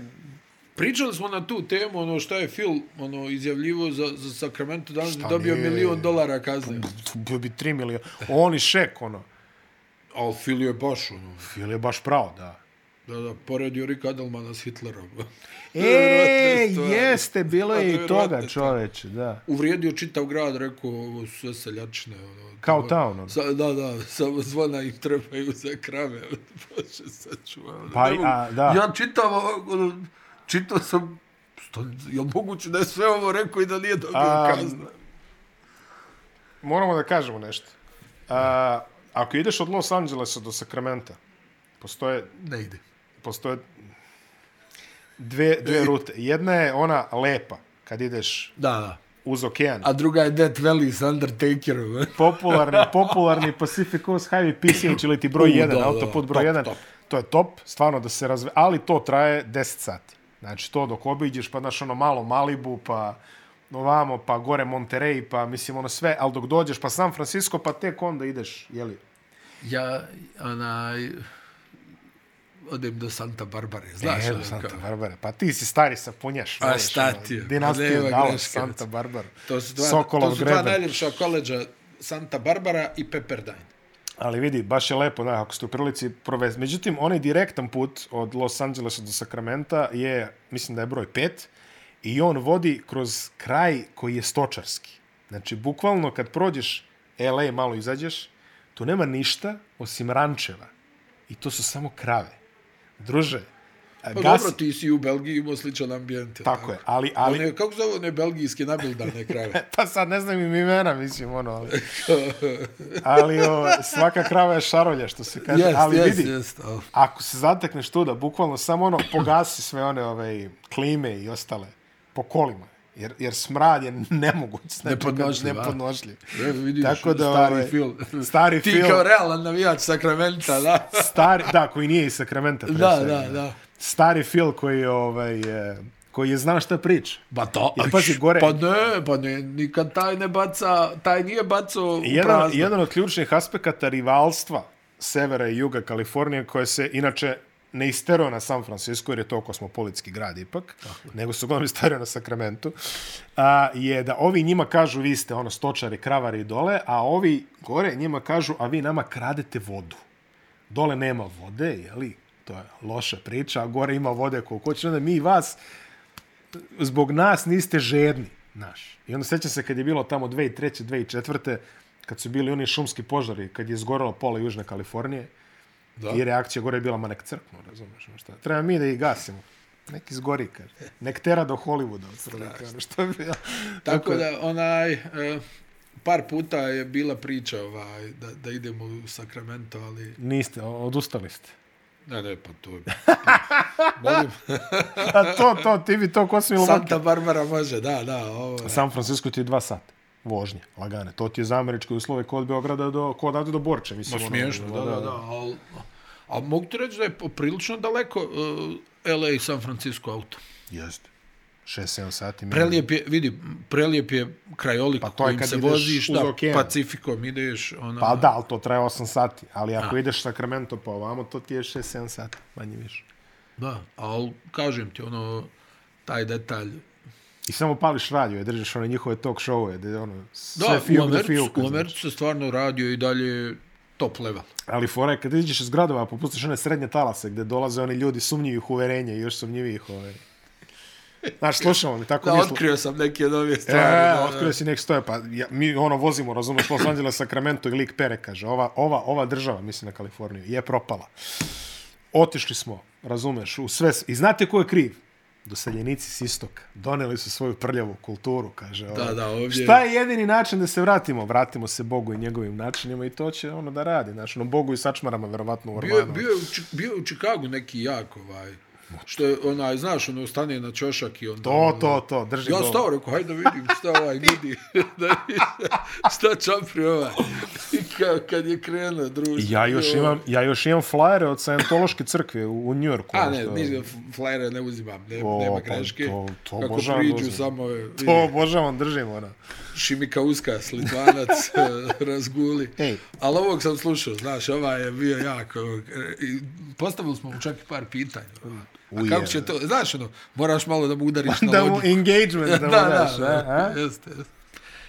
Speaker 3: Pričali smo na tu temu, ono šta je Phil ono, izjavljivo za, za Sacramento danas
Speaker 1: Šta
Speaker 3: da dobio
Speaker 1: nije?
Speaker 3: milion dolara kazne.
Speaker 1: bio bi 3 miliona. On i Šek, ono.
Speaker 3: Ali Phil je baš, ono,
Speaker 1: Fil je baš pravo, da.
Speaker 3: da, da, poredio Rick Adelmana s Hitlerom.
Speaker 1: E,
Speaker 3: Nevjerovatne stvari.
Speaker 1: jeste, bilo je i
Speaker 3: Nevjerovatne
Speaker 1: toga, čoveče, da.
Speaker 3: Uvrijedio čitav grad, rekao, ovo su sve seljačne, ono.
Speaker 1: Kao
Speaker 3: to-
Speaker 1: town, ono.
Speaker 3: Sa, da, da, samo zvona im trebaju za krave. Bože, sačuvaj.
Speaker 1: Pa,
Speaker 3: ono, Ne mogu-
Speaker 1: a, da.
Speaker 3: Ja čitam, ovako, ono, čitao sam, što, je moguće da je sve ovo rekao i da nije dobio
Speaker 1: A,
Speaker 3: kaznu?
Speaker 1: Moramo da kažemo nešto. A, ako ideš od Los Angelesa do Sakramenta, postoje,
Speaker 3: Ne ide.
Speaker 1: postoje dve, dve rute. Jedna je ona lepa, kad ideš
Speaker 3: Da, da.
Speaker 1: uz okean.
Speaker 3: A druga je Death Valley s Undertakerom. eh.
Speaker 1: Popularni, popularni Pacific Coast Highway PCH ili ti broj
Speaker 3: U,
Speaker 1: 1,
Speaker 3: da, da,
Speaker 1: autoput broj
Speaker 3: top,
Speaker 1: 1.
Speaker 3: top.
Speaker 1: To je top, stvarno da se razve... Ali to traje 10 sati. Znači to dok obiđeš, pa znaš ono malo Malibu, pa ovamo, pa gore Monterey, pa mislim ono sve, ali dok dođeš pa San Francisco, pa tek onda ideš, jeli?
Speaker 2: Ja, onaj, odem do Santa Barbare, znaš?
Speaker 1: Znaš,
Speaker 2: E,
Speaker 1: Evo, Santa Barbara. Pa ti si stari sapunjaš.
Speaker 3: ono, A,
Speaker 1: voliš,
Speaker 3: šta
Speaker 1: ono,
Speaker 3: ti je? Pa
Speaker 1: Dinastiju
Speaker 3: Nema
Speaker 1: Dallas,
Speaker 3: greške.
Speaker 1: Santa Barbara.
Speaker 3: To su dva,
Speaker 1: Sokolov
Speaker 3: to su dva
Speaker 1: greben.
Speaker 3: najljepša koleđa Santa Barbara i Pepperdine.
Speaker 1: Ali vidi, baš je lepo, da, ako ste u prilici provez. Međutim, onaj direktan put od Los Angelesa do Sakramenta je, mislim da je broj 5, i on vodi kroz kraj koji je stočarski. Znači, bukvalno kad prođeš LA, malo izađeš, tu nema ništa osim rančeva. I to su samo krave. Druže,
Speaker 3: Pa
Speaker 1: gasi...
Speaker 3: dobro, ti si u Belgiji imao sličan ambijent. je
Speaker 1: Tako je, ali, ali,
Speaker 3: One, kako zove one belgijske nabildane krave?
Speaker 1: Pa sad ne znam im imena, mislim, ono, ali... ali o, svaka krava je šarolja, što se kaže. Yes, ali yes, vidi, yes.
Speaker 2: jest. al-
Speaker 1: ako se zatekneš tu da bukvalno samo ono pogasi sve one ove klime i ostale po kolima, jer, jer smrad je nemoguć. Znači,
Speaker 2: Nepodnošljiv, a?
Speaker 1: nepodnošljiv.
Speaker 2: E, vidiš,
Speaker 1: Tako da, ovaj,
Speaker 2: stari film.
Speaker 1: stari
Speaker 2: Ti
Speaker 1: film.
Speaker 2: kao realan navijač Sakramenta, da.
Speaker 1: Stari, da, koji nije iz Sakramenta. pre
Speaker 2: Da,
Speaker 1: svega.
Speaker 2: da, da.
Speaker 1: Stari Phil koji je, ovaj, e, koji je znao šta priča.
Speaker 2: Ba to,
Speaker 1: Jer pazi, gore-
Speaker 2: pa ne, pa ne, nikad taj ne baca, taj nije bacao u
Speaker 1: Jedan,
Speaker 2: prazno.
Speaker 1: jedan od ključnih aspekata rivalstva severa i juga Kalifornije koje se inače ne isterao na San Francisco, jer je to kosmopolitski grad ipak, Tako. nego su uglavnom isterao na Sacramento, a, je da ovi njima kažu vi ste ono stočari, kravari dole, a ovi gore njima kažu a vi nama kradete vodu. Dole nema vode, jeli? To je loša priča, a gore ima vode koliko hoće. Onda mi vas, zbog nas niste žedni, naš. I onda sećam se kad je bilo tamo 2003. 2004. kad su bili oni šumski požari, kad je izgoralo pola Južne Kalifornije, Da. I reakcija gore je bila, ma nek crknu, razumeš, ono šta. Treba mi da ih gasimo. Nek izgori, kaže. Nek tera do Hollywooda, otprilike, ono što bi ja.
Speaker 2: Tako da, onaj, e, par puta je bila priča ovaj, da, da idemo u Sacramento, ali...
Speaker 1: Niste, o- odustali ste.
Speaker 2: Ne, ne, pa to je... pa,
Speaker 1: A to, to, ti bi to kosmilo
Speaker 2: Santa Barbara može, da, da, ovo je.
Speaker 1: San Francisco ti je dva sata vožnje, lagane. To ti je za američke uslove kod Beograda do, kod odavde do Borče. Mislim,
Speaker 2: Ma
Speaker 1: ono,
Speaker 2: smiješno, da, da, da. Al, a mogu ti reći da je poprilično daleko uh, LA i San Francisco auto.
Speaker 1: Jeste. 6-7 sati. minimum.
Speaker 2: Prelijep je, vidi, prelijep je krajolik pa
Speaker 1: to je
Speaker 2: kojim
Speaker 1: kad
Speaker 2: se
Speaker 1: ideš
Speaker 2: voziš,
Speaker 1: uz
Speaker 2: da,
Speaker 1: okean.
Speaker 2: Pacifikom ideš, ono, ona,
Speaker 1: Pa da, ali to traje 8 sati. Ali ako ideš Sacramento pa ovamo, to ti je 6-7 sati, manje više.
Speaker 2: da, ali kažem ti, ono, taj detalj.
Speaker 1: I samo pališ radio, je, držiš one njihove talk show-e, gde ono, sve
Speaker 2: Da, u
Speaker 1: fijuk do
Speaker 2: Americu,
Speaker 1: fijuka.
Speaker 2: u
Speaker 1: znaš.
Speaker 2: Americu se stvarno radio i dalje top level.
Speaker 1: Ali fora je kad iđeš iz gradova, popustiš one srednje talase gde dolaze oni ljudi sumnjivih uverenja i još sumnjivih ovaj. Znaš, slušamo mi tako
Speaker 2: Da,
Speaker 1: mi slu-
Speaker 2: otkrio sam neke nove
Speaker 1: E,
Speaker 2: stvari. da, da.
Speaker 1: otkrio si nek stoje, pa ja, mi ono vozimo, razumeš, Los Angeles, Sacramento i lik pere, kaže, ova, ova, ova država, mislim na Kaliforniju, je propala. Otišli smo, razumeš, u sve, s- i znate ko je kriv? Doseljenici s istoka. Doneli su svoju prljavu kulturu, kaže. ovaj.
Speaker 2: da, ovdje-
Speaker 1: Šta je jedini način da se vratimo? Vratimo se Bogu i njegovim načinima i to će ono da radi. Znači, ono, Bogu i sačmarama, verovatno, u
Speaker 2: Bio, je-
Speaker 1: Orlanu.
Speaker 2: bio, je u, Chi- bio je u Čikagu neki jak ovaj, što je onaj, znaš, ono, stane na čošak i onda...
Speaker 1: To, to, to, drži
Speaker 2: Ja
Speaker 1: govor.
Speaker 2: stao, rekao, hajde da vidim šta ovaj nudi, da vidim šta čapri ovaj. I ka, kad je krenuo druž.
Speaker 1: Ja još imam, ja još imam flajere od Scientološke crkve u, u New Yorku. ono
Speaker 2: A ne, nisam, flajere ne uzimam, ne,
Speaker 1: O,
Speaker 2: nema
Speaker 1: pa
Speaker 2: greške.
Speaker 1: to- to
Speaker 2: Kako
Speaker 1: obožavam da
Speaker 2: priđu
Speaker 1: uzmem.
Speaker 2: samo e, je,
Speaker 1: To obožavam, držim, ono. ona.
Speaker 2: Šimika Uskas, Litvanac, eh, razguli.
Speaker 1: Ej.
Speaker 2: Ali ovog sam slušao, znaš, ovaj je bio jako... e, i Postavili smo mu čak i par pitanja. A kako
Speaker 1: Ujebe.
Speaker 2: će to... Znaš, ono, moraš malo da mu udariš na
Speaker 1: da mu
Speaker 2: lodi.
Speaker 1: engagement da,
Speaker 2: da,
Speaker 1: mu
Speaker 2: da,
Speaker 1: daš,
Speaker 2: da,
Speaker 1: a? a?
Speaker 2: jeste, jeste.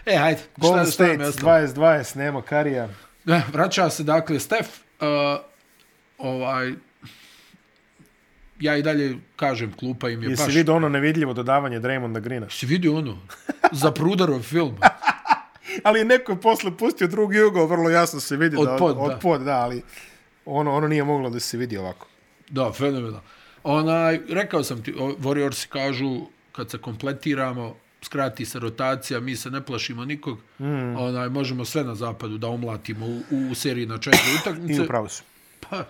Speaker 2: E, hajde,
Speaker 1: Golden
Speaker 2: šta, šta nam je
Speaker 1: State
Speaker 2: ostalo?
Speaker 1: 20-20, nema karija.
Speaker 2: Ne, vraća se dakle Stef. Uh, ovaj, ja i dalje kažem, klupa im je
Speaker 1: Jesi
Speaker 2: baš...
Speaker 1: vidio ono nevidljivo dodavanje Draymonda Greena?
Speaker 2: Jesi vidio ono? Za Prudarov film.
Speaker 1: Ali je neko je posle pustio drugi ugao, vrlo jasno se vidi
Speaker 2: Od
Speaker 1: da,
Speaker 2: pod,
Speaker 1: od
Speaker 2: da.
Speaker 1: pod, da, ali ono, ono nije moglo da se vidi ovako.
Speaker 2: Da, fenomenalno. Onaj, rekao sam ti, o- Warriorsi kažu, kad se kompletiramo, skrati se rotacija, mi se ne plašimo nikog, mm. onaj, možemo sve na zapadu da omlatimo u, u seriji na četiri
Speaker 1: I
Speaker 2: utakmice.
Speaker 1: upravo su.
Speaker 2: Pa,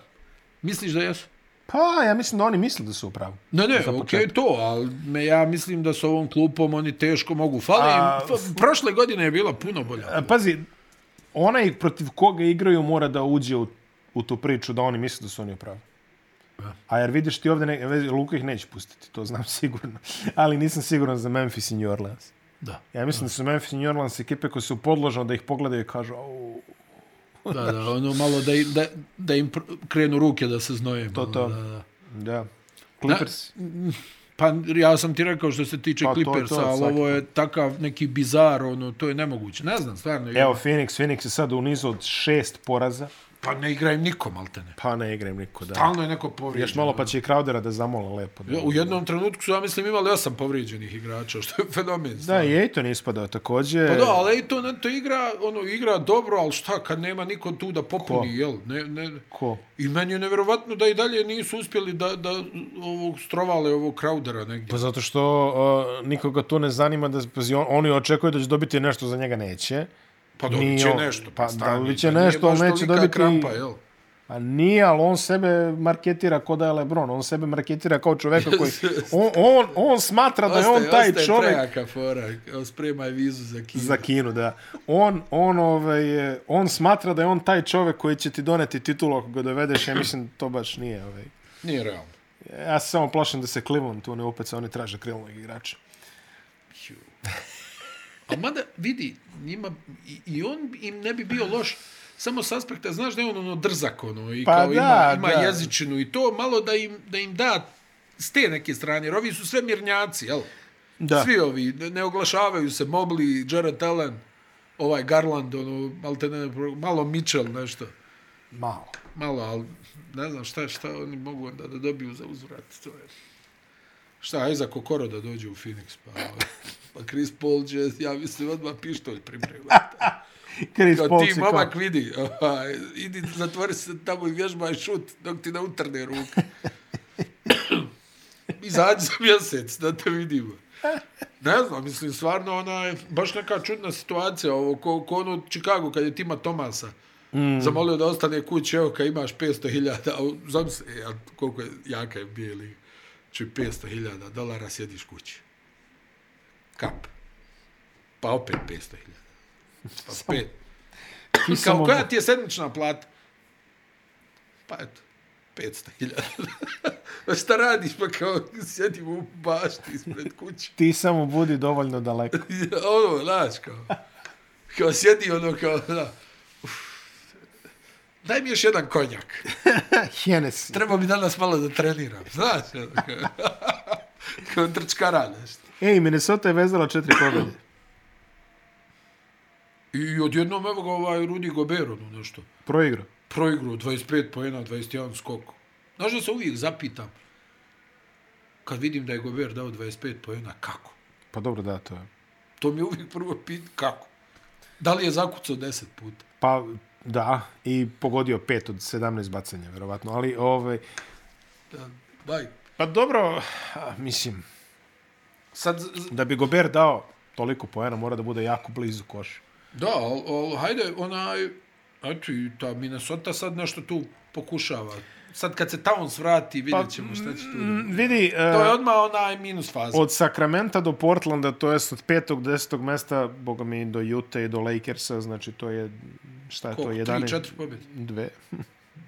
Speaker 2: misliš da jesu?
Speaker 1: Pa, ja mislim da oni misle da su upravo.
Speaker 2: Ne, ne, okej okay, to, ali me, ja mislim da s ovom klupom oni teško mogu. Fali
Speaker 1: A-
Speaker 2: im, f- prošle godine je bila puno bolja.
Speaker 1: A, Pazi, onaj protiv koga igraju mora da uđe u, u tu priču da oni misle da su oni upravo. A jer vidiš ti ovdje, ne, Luka ih neće pustiti, to znam sigurno. Ali nisam siguran za Memphis i New Orleans.
Speaker 2: Da,
Speaker 1: Ja mislim da su Memphis i New Orleans ekipe koje su podložno da ih pogledaju i kažu "Au,
Speaker 2: da, da, ono malo da, i- da, da im pr- krenu ruke da se znoje. To,
Speaker 1: to.
Speaker 2: Da, da.
Speaker 1: da, Clippers.
Speaker 2: Pa ja sam ti rekao što se tiče
Speaker 1: Pa
Speaker 2: pa,
Speaker 1: to je to,
Speaker 2: Clippersa, ali
Speaker 1: svaki
Speaker 2: ovo je takav neki bizar, ono, to je nemoguće. Ne znam, stvarno.
Speaker 1: Evo Phoenix, Phoenix je sad u nizu od šest poraza,
Speaker 2: Pa ne igrajem niko, maltene.
Speaker 1: pa ne igram niko da.
Speaker 2: Stalno je neko povrijeđen.
Speaker 1: Još malo pa će i Crowdera da zamola lepo. Da,
Speaker 2: Ja, U jednom trenutku su, ja mislim, imali osam povrijeđenih igrača, što je fenomen.
Speaker 1: da i Ejton ispadao također.
Speaker 2: Pa da, ali i to, ne, to igra, ono, igra dobro, ali šta, kad nema niko tu da popuni,
Speaker 1: Ko?
Speaker 2: jel? Ne, ne,
Speaker 1: Ko?
Speaker 2: I meni je nevjerovatno da i dalje nisu uspjeli da, da ovog strovale ovog Crowdera negdje.
Speaker 1: Pa zato što uh, nikoga to ne zanima, da, pazi, on, oni očekuju da će dobiti nešto za njega neće.
Speaker 2: Pa dobit
Speaker 1: nije
Speaker 2: će
Speaker 1: on-
Speaker 2: nešto.
Speaker 1: pa
Speaker 2: stani,
Speaker 1: dobit će
Speaker 2: pa nije
Speaker 1: nešto, ali
Speaker 2: baš
Speaker 1: neće
Speaker 2: tolika
Speaker 1: dobiti-
Speaker 2: Krampa, jel?
Speaker 1: A nije, ali on sebe marketira kao da je Lebron. On sebe marketira kao čoveka koji... On, on, on smatra da je Pa on taj čovek
Speaker 2: prejaka fora, evo, spremaj vizu za Kinu.
Speaker 1: za Kinu, da. On, on, ovaj, je- on smatra da je on taj čovek koji će ti doneti titulu ako ga dovedeš, ja mislim to baš nije. Ovaj.
Speaker 2: Nije realno.
Speaker 1: Ja se samo plašim da se Cleveland tu ne upeca, oni traže krilnog igrača.
Speaker 2: A mada, vidi, njima, i, i on im ne bi bio loš samo s aspekta, znaš da je on ono drzak, ono, i
Speaker 1: Pa
Speaker 2: pa kao
Speaker 1: da,
Speaker 2: da, ima, ima
Speaker 1: da.
Speaker 2: jezičinu i to, malo da im, da im da s te neke strane, jer ovi su sve mirnjaci, jel?
Speaker 1: Da.
Speaker 2: Svi ovi, ne- ne oglašavaju se, Mobley, Jared Allen, ovaj Garland, ono, maltene, malo Mitchell, nešto.
Speaker 1: Malo.
Speaker 2: Malo, ali ne znam šta, šta oni mogu onda da dobiju za uzvrat. To je. Šta, aj za Kokoro da dođe u Phoenix, pa, pa Chris Paul će, ja mislim, odmah pištolj pripregu.
Speaker 1: Chris
Speaker 2: Kao
Speaker 1: Paul
Speaker 2: ti
Speaker 1: si
Speaker 2: momak
Speaker 1: kao-
Speaker 2: vidi, ovaj, idi, zatvori se tamo i vježbaj šut dok ti ne utrne ruka. Izađi za mjesec, da te vidimo. Ne znam, mislim, stvarno onaj, baš neka čudna situacija, ovo, ko, ko ono u Chicago kad je Tima Tomasa mm. zamolio da ostane kući, evo, kad imaš 500.000, a u- zamisli, e, a koliko je jaka je bijeli, či 500.000 dolara sjediš kući. Kap. Pa opet 500.000. Pa pet.
Speaker 1: Ti
Speaker 2: Kao,
Speaker 1: samo-
Speaker 2: koja ti je sedmična plata? Pa eto, 500.000. Pa šta radiš? Pa kao, sjedim u bašti ispred kuće.
Speaker 1: Ti samo budi dovoljno daleko.
Speaker 2: ono, znaš, kao. Kao, sjedi ono, kao, da. Uf. Daj mi još jedan konjak.
Speaker 1: Hennessy.
Speaker 2: Treba mi danas malo da treniram. Znaš, ono, kao. kao trčkara nešto.
Speaker 1: Ej, Minnesota je vezala četiri pobjede.
Speaker 2: I odjednom, evo ga ovaj Rudi Gober, ono nešto.
Speaker 1: Proigro.
Speaker 2: proigru 25 pojena, 21 skok. Znaš da se uvijek zapitam, kad vidim da je Gober dao 25 pojena, kako?
Speaker 1: Pa dobro, da, to je.
Speaker 2: To mi je uvijek prvo pit, kako? Da li je zakucao 10 puta?
Speaker 1: Pa, da, i pogodio pet od 17 bacanja, verovatno. Ali, ovaj...
Speaker 2: Da, daj.
Speaker 1: Pa dobro, a, mislim,
Speaker 2: Sad, z- z-
Speaker 1: da bi Gober dao toliko poena, mora da bude jako blizu koša.
Speaker 2: da, al, al, hajde, onaj, eto i ta Minnesota sad nešto tu pokušava. Sad kad se Towns vrati, vidjet ćemo šta će tu.
Speaker 1: Mm, Vidi, e,
Speaker 2: To je odmah onaj minus faza.
Speaker 1: od Sakramenta do Portlanda, to jest od petog, desetog mesta, boga mi, do Utah i do Lakersa, znači to je, šta je
Speaker 2: Koliko?
Speaker 1: to,
Speaker 2: 3,
Speaker 1: 11?
Speaker 2: 4 pobjede?
Speaker 1: Dve,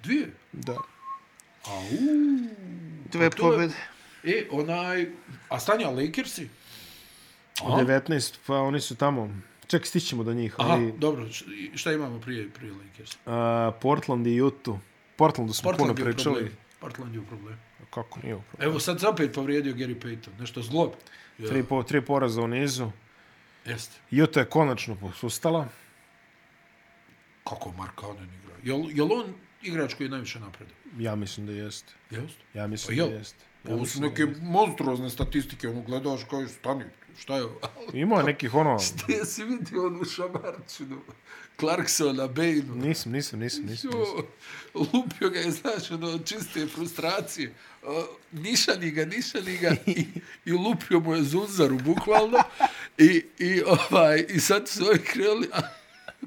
Speaker 2: Dvije?
Speaker 1: da.
Speaker 2: Au.
Speaker 1: Dve
Speaker 2: to je- pobjede. E, onaj, a stanja Lakersi? Aha.
Speaker 1: 19, pa oni su tamo. Ček, stićemo do njih.
Speaker 2: Aha,
Speaker 1: Ali,
Speaker 2: dobro, š- i šta imamo prije, prije Lakers?
Speaker 1: a, Portland i Utah. Portlandu smo
Speaker 2: Portland
Speaker 1: puno
Speaker 2: je u
Speaker 1: pričali.
Speaker 2: problemu. Portland je u problemu.
Speaker 1: Kako nije upravo.
Speaker 2: Evo sad se opet povrijedio Gary Payton, nešto zglob. Ja,
Speaker 1: Tri, po, tri poraza u nizu.
Speaker 2: Jeste.
Speaker 1: Utah je konačno posustala.
Speaker 2: Kako Mark Cannon igra? Jel, jel on igrač koji je najviše napredo?
Speaker 1: Ja mislim da jeste.
Speaker 2: Jeste.
Speaker 1: Ja mislim
Speaker 2: Pa jel?
Speaker 1: da jeste. Ja
Speaker 2: Ovo su
Speaker 1: mislim da
Speaker 2: neke monstruozne statistike, ono gledaš kao je stani, šta je ovo?
Speaker 1: jeste. Imao je nekih ono...
Speaker 2: Jesi vidio onu šamarčinu Clarksona, Bane-u?
Speaker 1: Nisam, nisam, nisam, nisam. nisam.
Speaker 2: Jo, lupio ga je, znaš, ono, od čiste frustracije. O, nišani ga, nišani ga i, i lupio mu je zunzaru, bukvalno. I, i, ovaj, i sad su ovi krenuli, a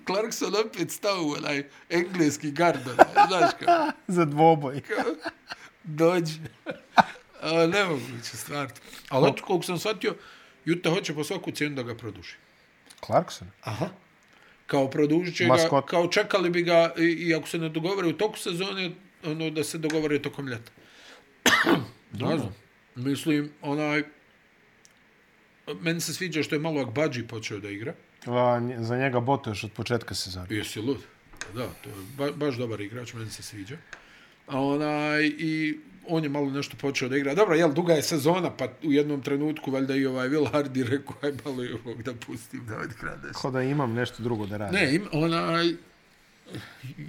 Speaker 2: Clarkson opet stao u onaj engleski gard, onaj, znaš kao,
Speaker 1: Za dvoboj.
Speaker 2: dođe. A, nemoguće, stvarno. Ali eto, koliko sam shvatio, Juta hoće po svaku cijenu da ga produži.
Speaker 1: Clarkson?
Speaker 2: Aha. Kao produžit će ga,
Speaker 1: Maskot.
Speaker 2: kao čekali bi ga i, i ako se ne dogovore u toku sezone, ono da se dogovore tokom ljeta. ne znam. Mislim, onaj... Meni se sviđa što je malo Akbađi počeo da igra.
Speaker 1: A, nje- za njega boto još od početka sezona.
Speaker 2: Jesi lud? Pa Da, to je ba, baš dobar igrač, meni se sviđa. A onaj, i on je malo nešto počeo da igra. Dobro, jel, duga je sezona, pa u jednom trenutku valjda i ovaj Will Hardy rekao, aj malo i ovog da pustim da odigra nešto.
Speaker 1: Kao da imam nešto drugo da radim.
Speaker 2: Ne, im, onaj...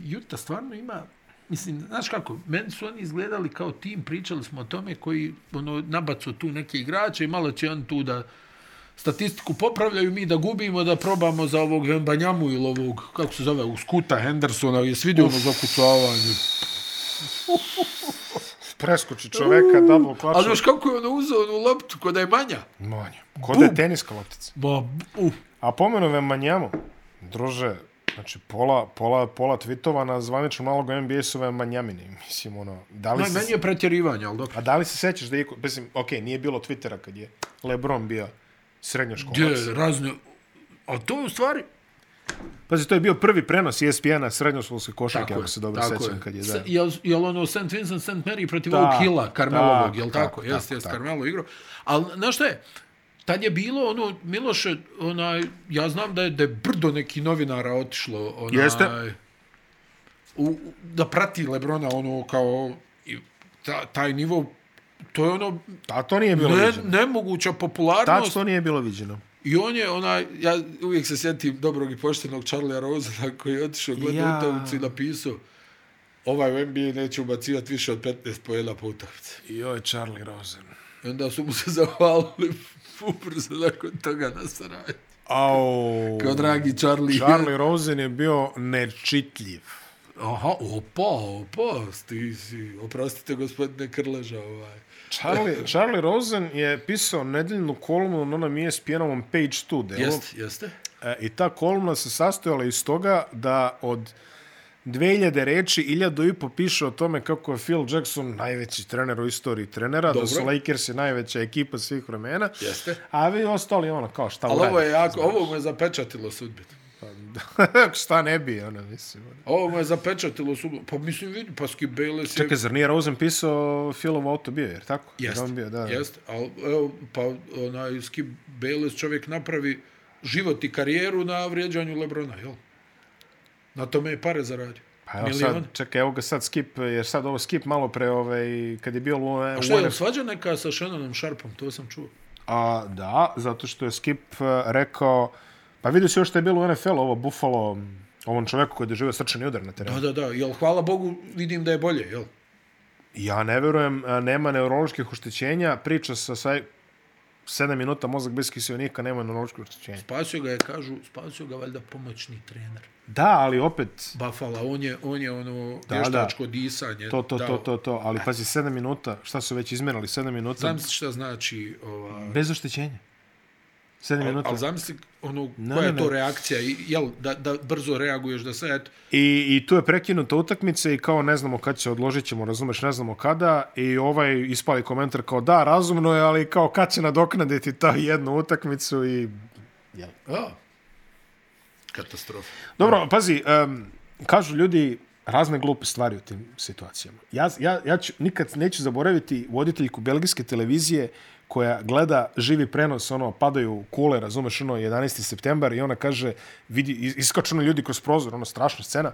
Speaker 2: Juta stvarno ima... Mislim, znaš kako, meni su oni izgledali kao tim, pričali smo o tome koji ono, nabacu tu neke igrače i malo će on tu da statistiku popravljaju, mi da gubimo, da probamo za ovog Vembanjamu ili ovog, kako se zove, ovog Skuta Hendersona, je svidio ono zakucavanje.
Speaker 1: Preskoči čoveka, double clutch.
Speaker 2: Ali još kako je ono uzeo onu loptu, kod je manja.
Speaker 1: Manje. Ko da je teniska loptica.
Speaker 2: Ba, uh,
Speaker 1: A pomenove Manjamu, druže, znači pola, pola, pola tvitova na zvaničnom nalogu NBA su ove Manjamini. Mislim, ono, da li
Speaker 2: no,
Speaker 1: se...
Speaker 2: meni je pretjerivanje, ali dobro.
Speaker 1: A da li se sećaš da je... iko- Mislim, okej, nije bilo Twittera kad je Lebron bio srednjoškolac.
Speaker 2: Gdje je razne... A to je u stvari,
Speaker 1: Pazi, to je bio prvi prenos E ESPN-a srednjoškolske košarke,
Speaker 2: Tako
Speaker 1: ako se dobro
Speaker 2: tako
Speaker 1: sećam, kad je
Speaker 2: S-
Speaker 1: da.
Speaker 2: Jel, jel ono St. Vincent, St. Mary protiv
Speaker 1: Da,
Speaker 2: ovog Hilla, Karmelovog,
Speaker 1: tako,
Speaker 2: jel
Speaker 1: tako,
Speaker 2: tako? Jeste,
Speaker 1: tako,
Speaker 2: jeste,
Speaker 1: tako.
Speaker 2: Karmelo igrao. Ali, znaš šta je? Tad je bilo ono, Miloše, onaj, ja znam da je, da je brdo neki novinara otišlo, onaj,
Speaker 1: Jeste.
Speaker 2: u, u- da prati Lebrona ono kao i ta, taj nivo to je ono
Speaker 1: A Pa to nije bilo
Speaker 2: ne,
Speaker 1: viđeno.
Speaker 2: nemoguća popularnost
Speaker 1: Tad to nije bilo viđeno.
Speaker 2: I on je onaj, ja uvijek se sjetim dobrog i poštenog Charlie'a Rosena koji je otišao gledao
Speaker 1: Ja.
Speaker 2: ja. utakmicu i napisao ovaj u NBA neće ubacivati više od 15 pojena po utakmici.
Speaker 1: Joj, Charlie Rosen.
Speaker 2: I onda su mu se zahvalili ubrzo nakon toga na Sarajevo.
Speaker 1: Au.
Speaker 2: Kao dragi Charlie.
Speaker 1: Charlie Rosen je bio nečitljiv.
Speaker 2: Aha, opa, opa, ti si, oprostite gospodine Krleža ovaj.
Speaker 1: Charlie, Charlie Rosen je pisao nedeljnu kolumnu na onom ESPN-ovom Page 2 delu.
Speaker 2: Jeste, jeste.
Speaker 1: E, I ta kolumna se sastojala iz toga da od 2000 reči, 1000 i po piše o tome kako je Phil Jackson najveći trener u istoriji trenera, Dobro. da
Speaker 2: Dobro.
Speaker 1: su Lakersi najveća ekipa svih vremena,
Speaker 2: Jeste.
Speaker 1: a vi ostali ono kao šta
Speaker 2: Ali ovo je
Speaker 1: uradite.
Speaker 2: jako, ovo mu je zapečatilo sudbinu.
Speaker 1: šta ne bi, ono mislim. Ono.
Speaker 2: Ovo mu je zapečatilo sudbinu. Pa mislim, vidi, pa Skip Bayless je...
Speaker 1: Čekaj, zar nije Rosen pisao Philov autobio, jer tako? Jer
Speaker 2: Jeste,
Speaker 1: on bio, da.
Speaker 2: jeste. Al, evo, pa onaj Skip Bayless čovjek napravi život i karijeru na vrijeđanju Lebrona, jel? Na tome je pare zaradio.
Speaker 1: Pa evo sad, čekaj, evo ga sad skip, jer sad ovo skip malo pre, ovaj, kad je bio u,
Speaker 2: A što
Speaker 1: u
Speaker 2: je svađa neka sa Shannonom Sharpom, to sam čuo.
Speaker 1: A, da, zato što je Skip e, rekao... Pa vidio si još što je bilo u NFL-u, ovo Buffalo, ovom čoveku koji je doživio srčani udar na terenu.
Speaker 2: Da, da, da, jel hvala Bogu vidim da je bolje, jel?
Speaker 1: Ja ne verujem, e, nema neuroloških oštećenja, priča sa saj... 7 minuta mozak bez kiselnika, nema neuroloških oštećenja.
Speaker 2: Spasio ga je, kažu, spasio ga valjda pomoćni trener.
Speaker 1: Da, ali opet,
Speaker 2: Bafala, on je, on je ono
Speaker 1: Da,
Speaker 2: da,
Speaker 1: da.
Speaker 2: vještačko da. disanje.
Speaker 1: to, to,
Speaker 2: dao.
Speaker 1: to, to, to, ali pazi, 7 minuta, šta su već izmerali, 7 minuta,
Speaker 2: Zamisli šta znači ova,
Speaker 1: bez oštećenja. 7
Speaker 2: Al,
Speaker 1: minuta.
Speaker 2: al zamisli ono,
Speaker 1: Ne,
Speaker 2: koja
Speaker 1: ne,
Speaker 2: je to
Speaker 1: ne.
Speaker 2: reakcija, i, jel, da, da brzo reaguješ, da se, eto,
Speaker 1: I, I tu je prekinuta utakmica i kao ne znamo kad će, odložit ćemo, razumeš, ne znamo kada. I ovaj ispali komentar kao da, razumno je, ali kao kad će nadoknaditi ta jednu utakmicu i...
Speaker 2: a, katastrofa.
Speaker 1: Dobro, pazi, um, kažu ljudi razne glupe stvari u tim situacijama. Ja, ja, ja ću, nikad neću zaboraviti voditeljku belgijske televizije koja gleda živi prenos, ono, padaju kule, razumeš, ono, 11. septembar i ona kaže, vidi, is- iskaču ono ljudi kroz prozor, ono, strašna scena,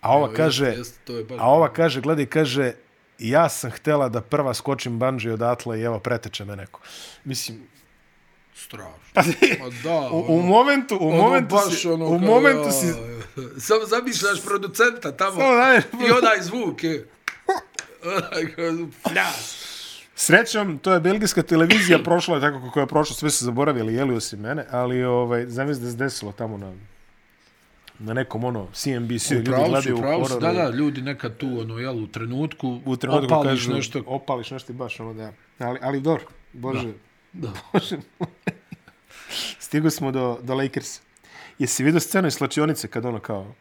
Speaker 1: a ova kaže,
Speaker 2: Jeste, jeste, to je baš...
Speaker 1: A ova kaže, gledaj, kaže, ja sam htela da prva skočim banđi odatle i evo, preteče me neko. Mislim,
Speaker 2: Strašno.
Speaker 1: pa,
Speaker 2: Ma da,
Speaker 1: u, u momentu, u
Speaker 2: ono
Speaker 1: momentu
Speaker 2: baš
Speaker 1: si,
Speaker 2: ono
Speaker 1: u
Speaker 2: kao,
Speaker 1: momentu
Speaker 2: ja,
Speaker 1: si,
Speaker 2: Samo zamišljaš producenta tamo
Speaker 1: Samo daj-
Speaker 2: i onaj zvuk, je. Onaj kao, pljas.
Speaker 1: srećom, to je belgijska televizija prošla je tako kako je prošla, sve su zaboravili, jelio si mene, ali ovaj, zamisli da se desilo tamo na na nekom ono CNBC ljudi
Speaker 2: Pravu
Speaker 1: gledaju
Speaker 2: su,
Speaker 1: u
Speaker 2: pravu su,
Speaker 1: hororu.
Speaker 2: da, da, ljudi nekad tu, ono, jel, u trenutku,
Speaker 1: U trenutku
Speaker 2: opališ
Speaker 1: kažu,
Speaker 2: nešto.
Speaker 1: opališ nešto i baš ono da. Ali, ali dobro, bože,
Speaker 2: Da.
Speaker 1: Stigo smo do, do Lakersa. Jesi vidio scenu iz slačionice kad ono kao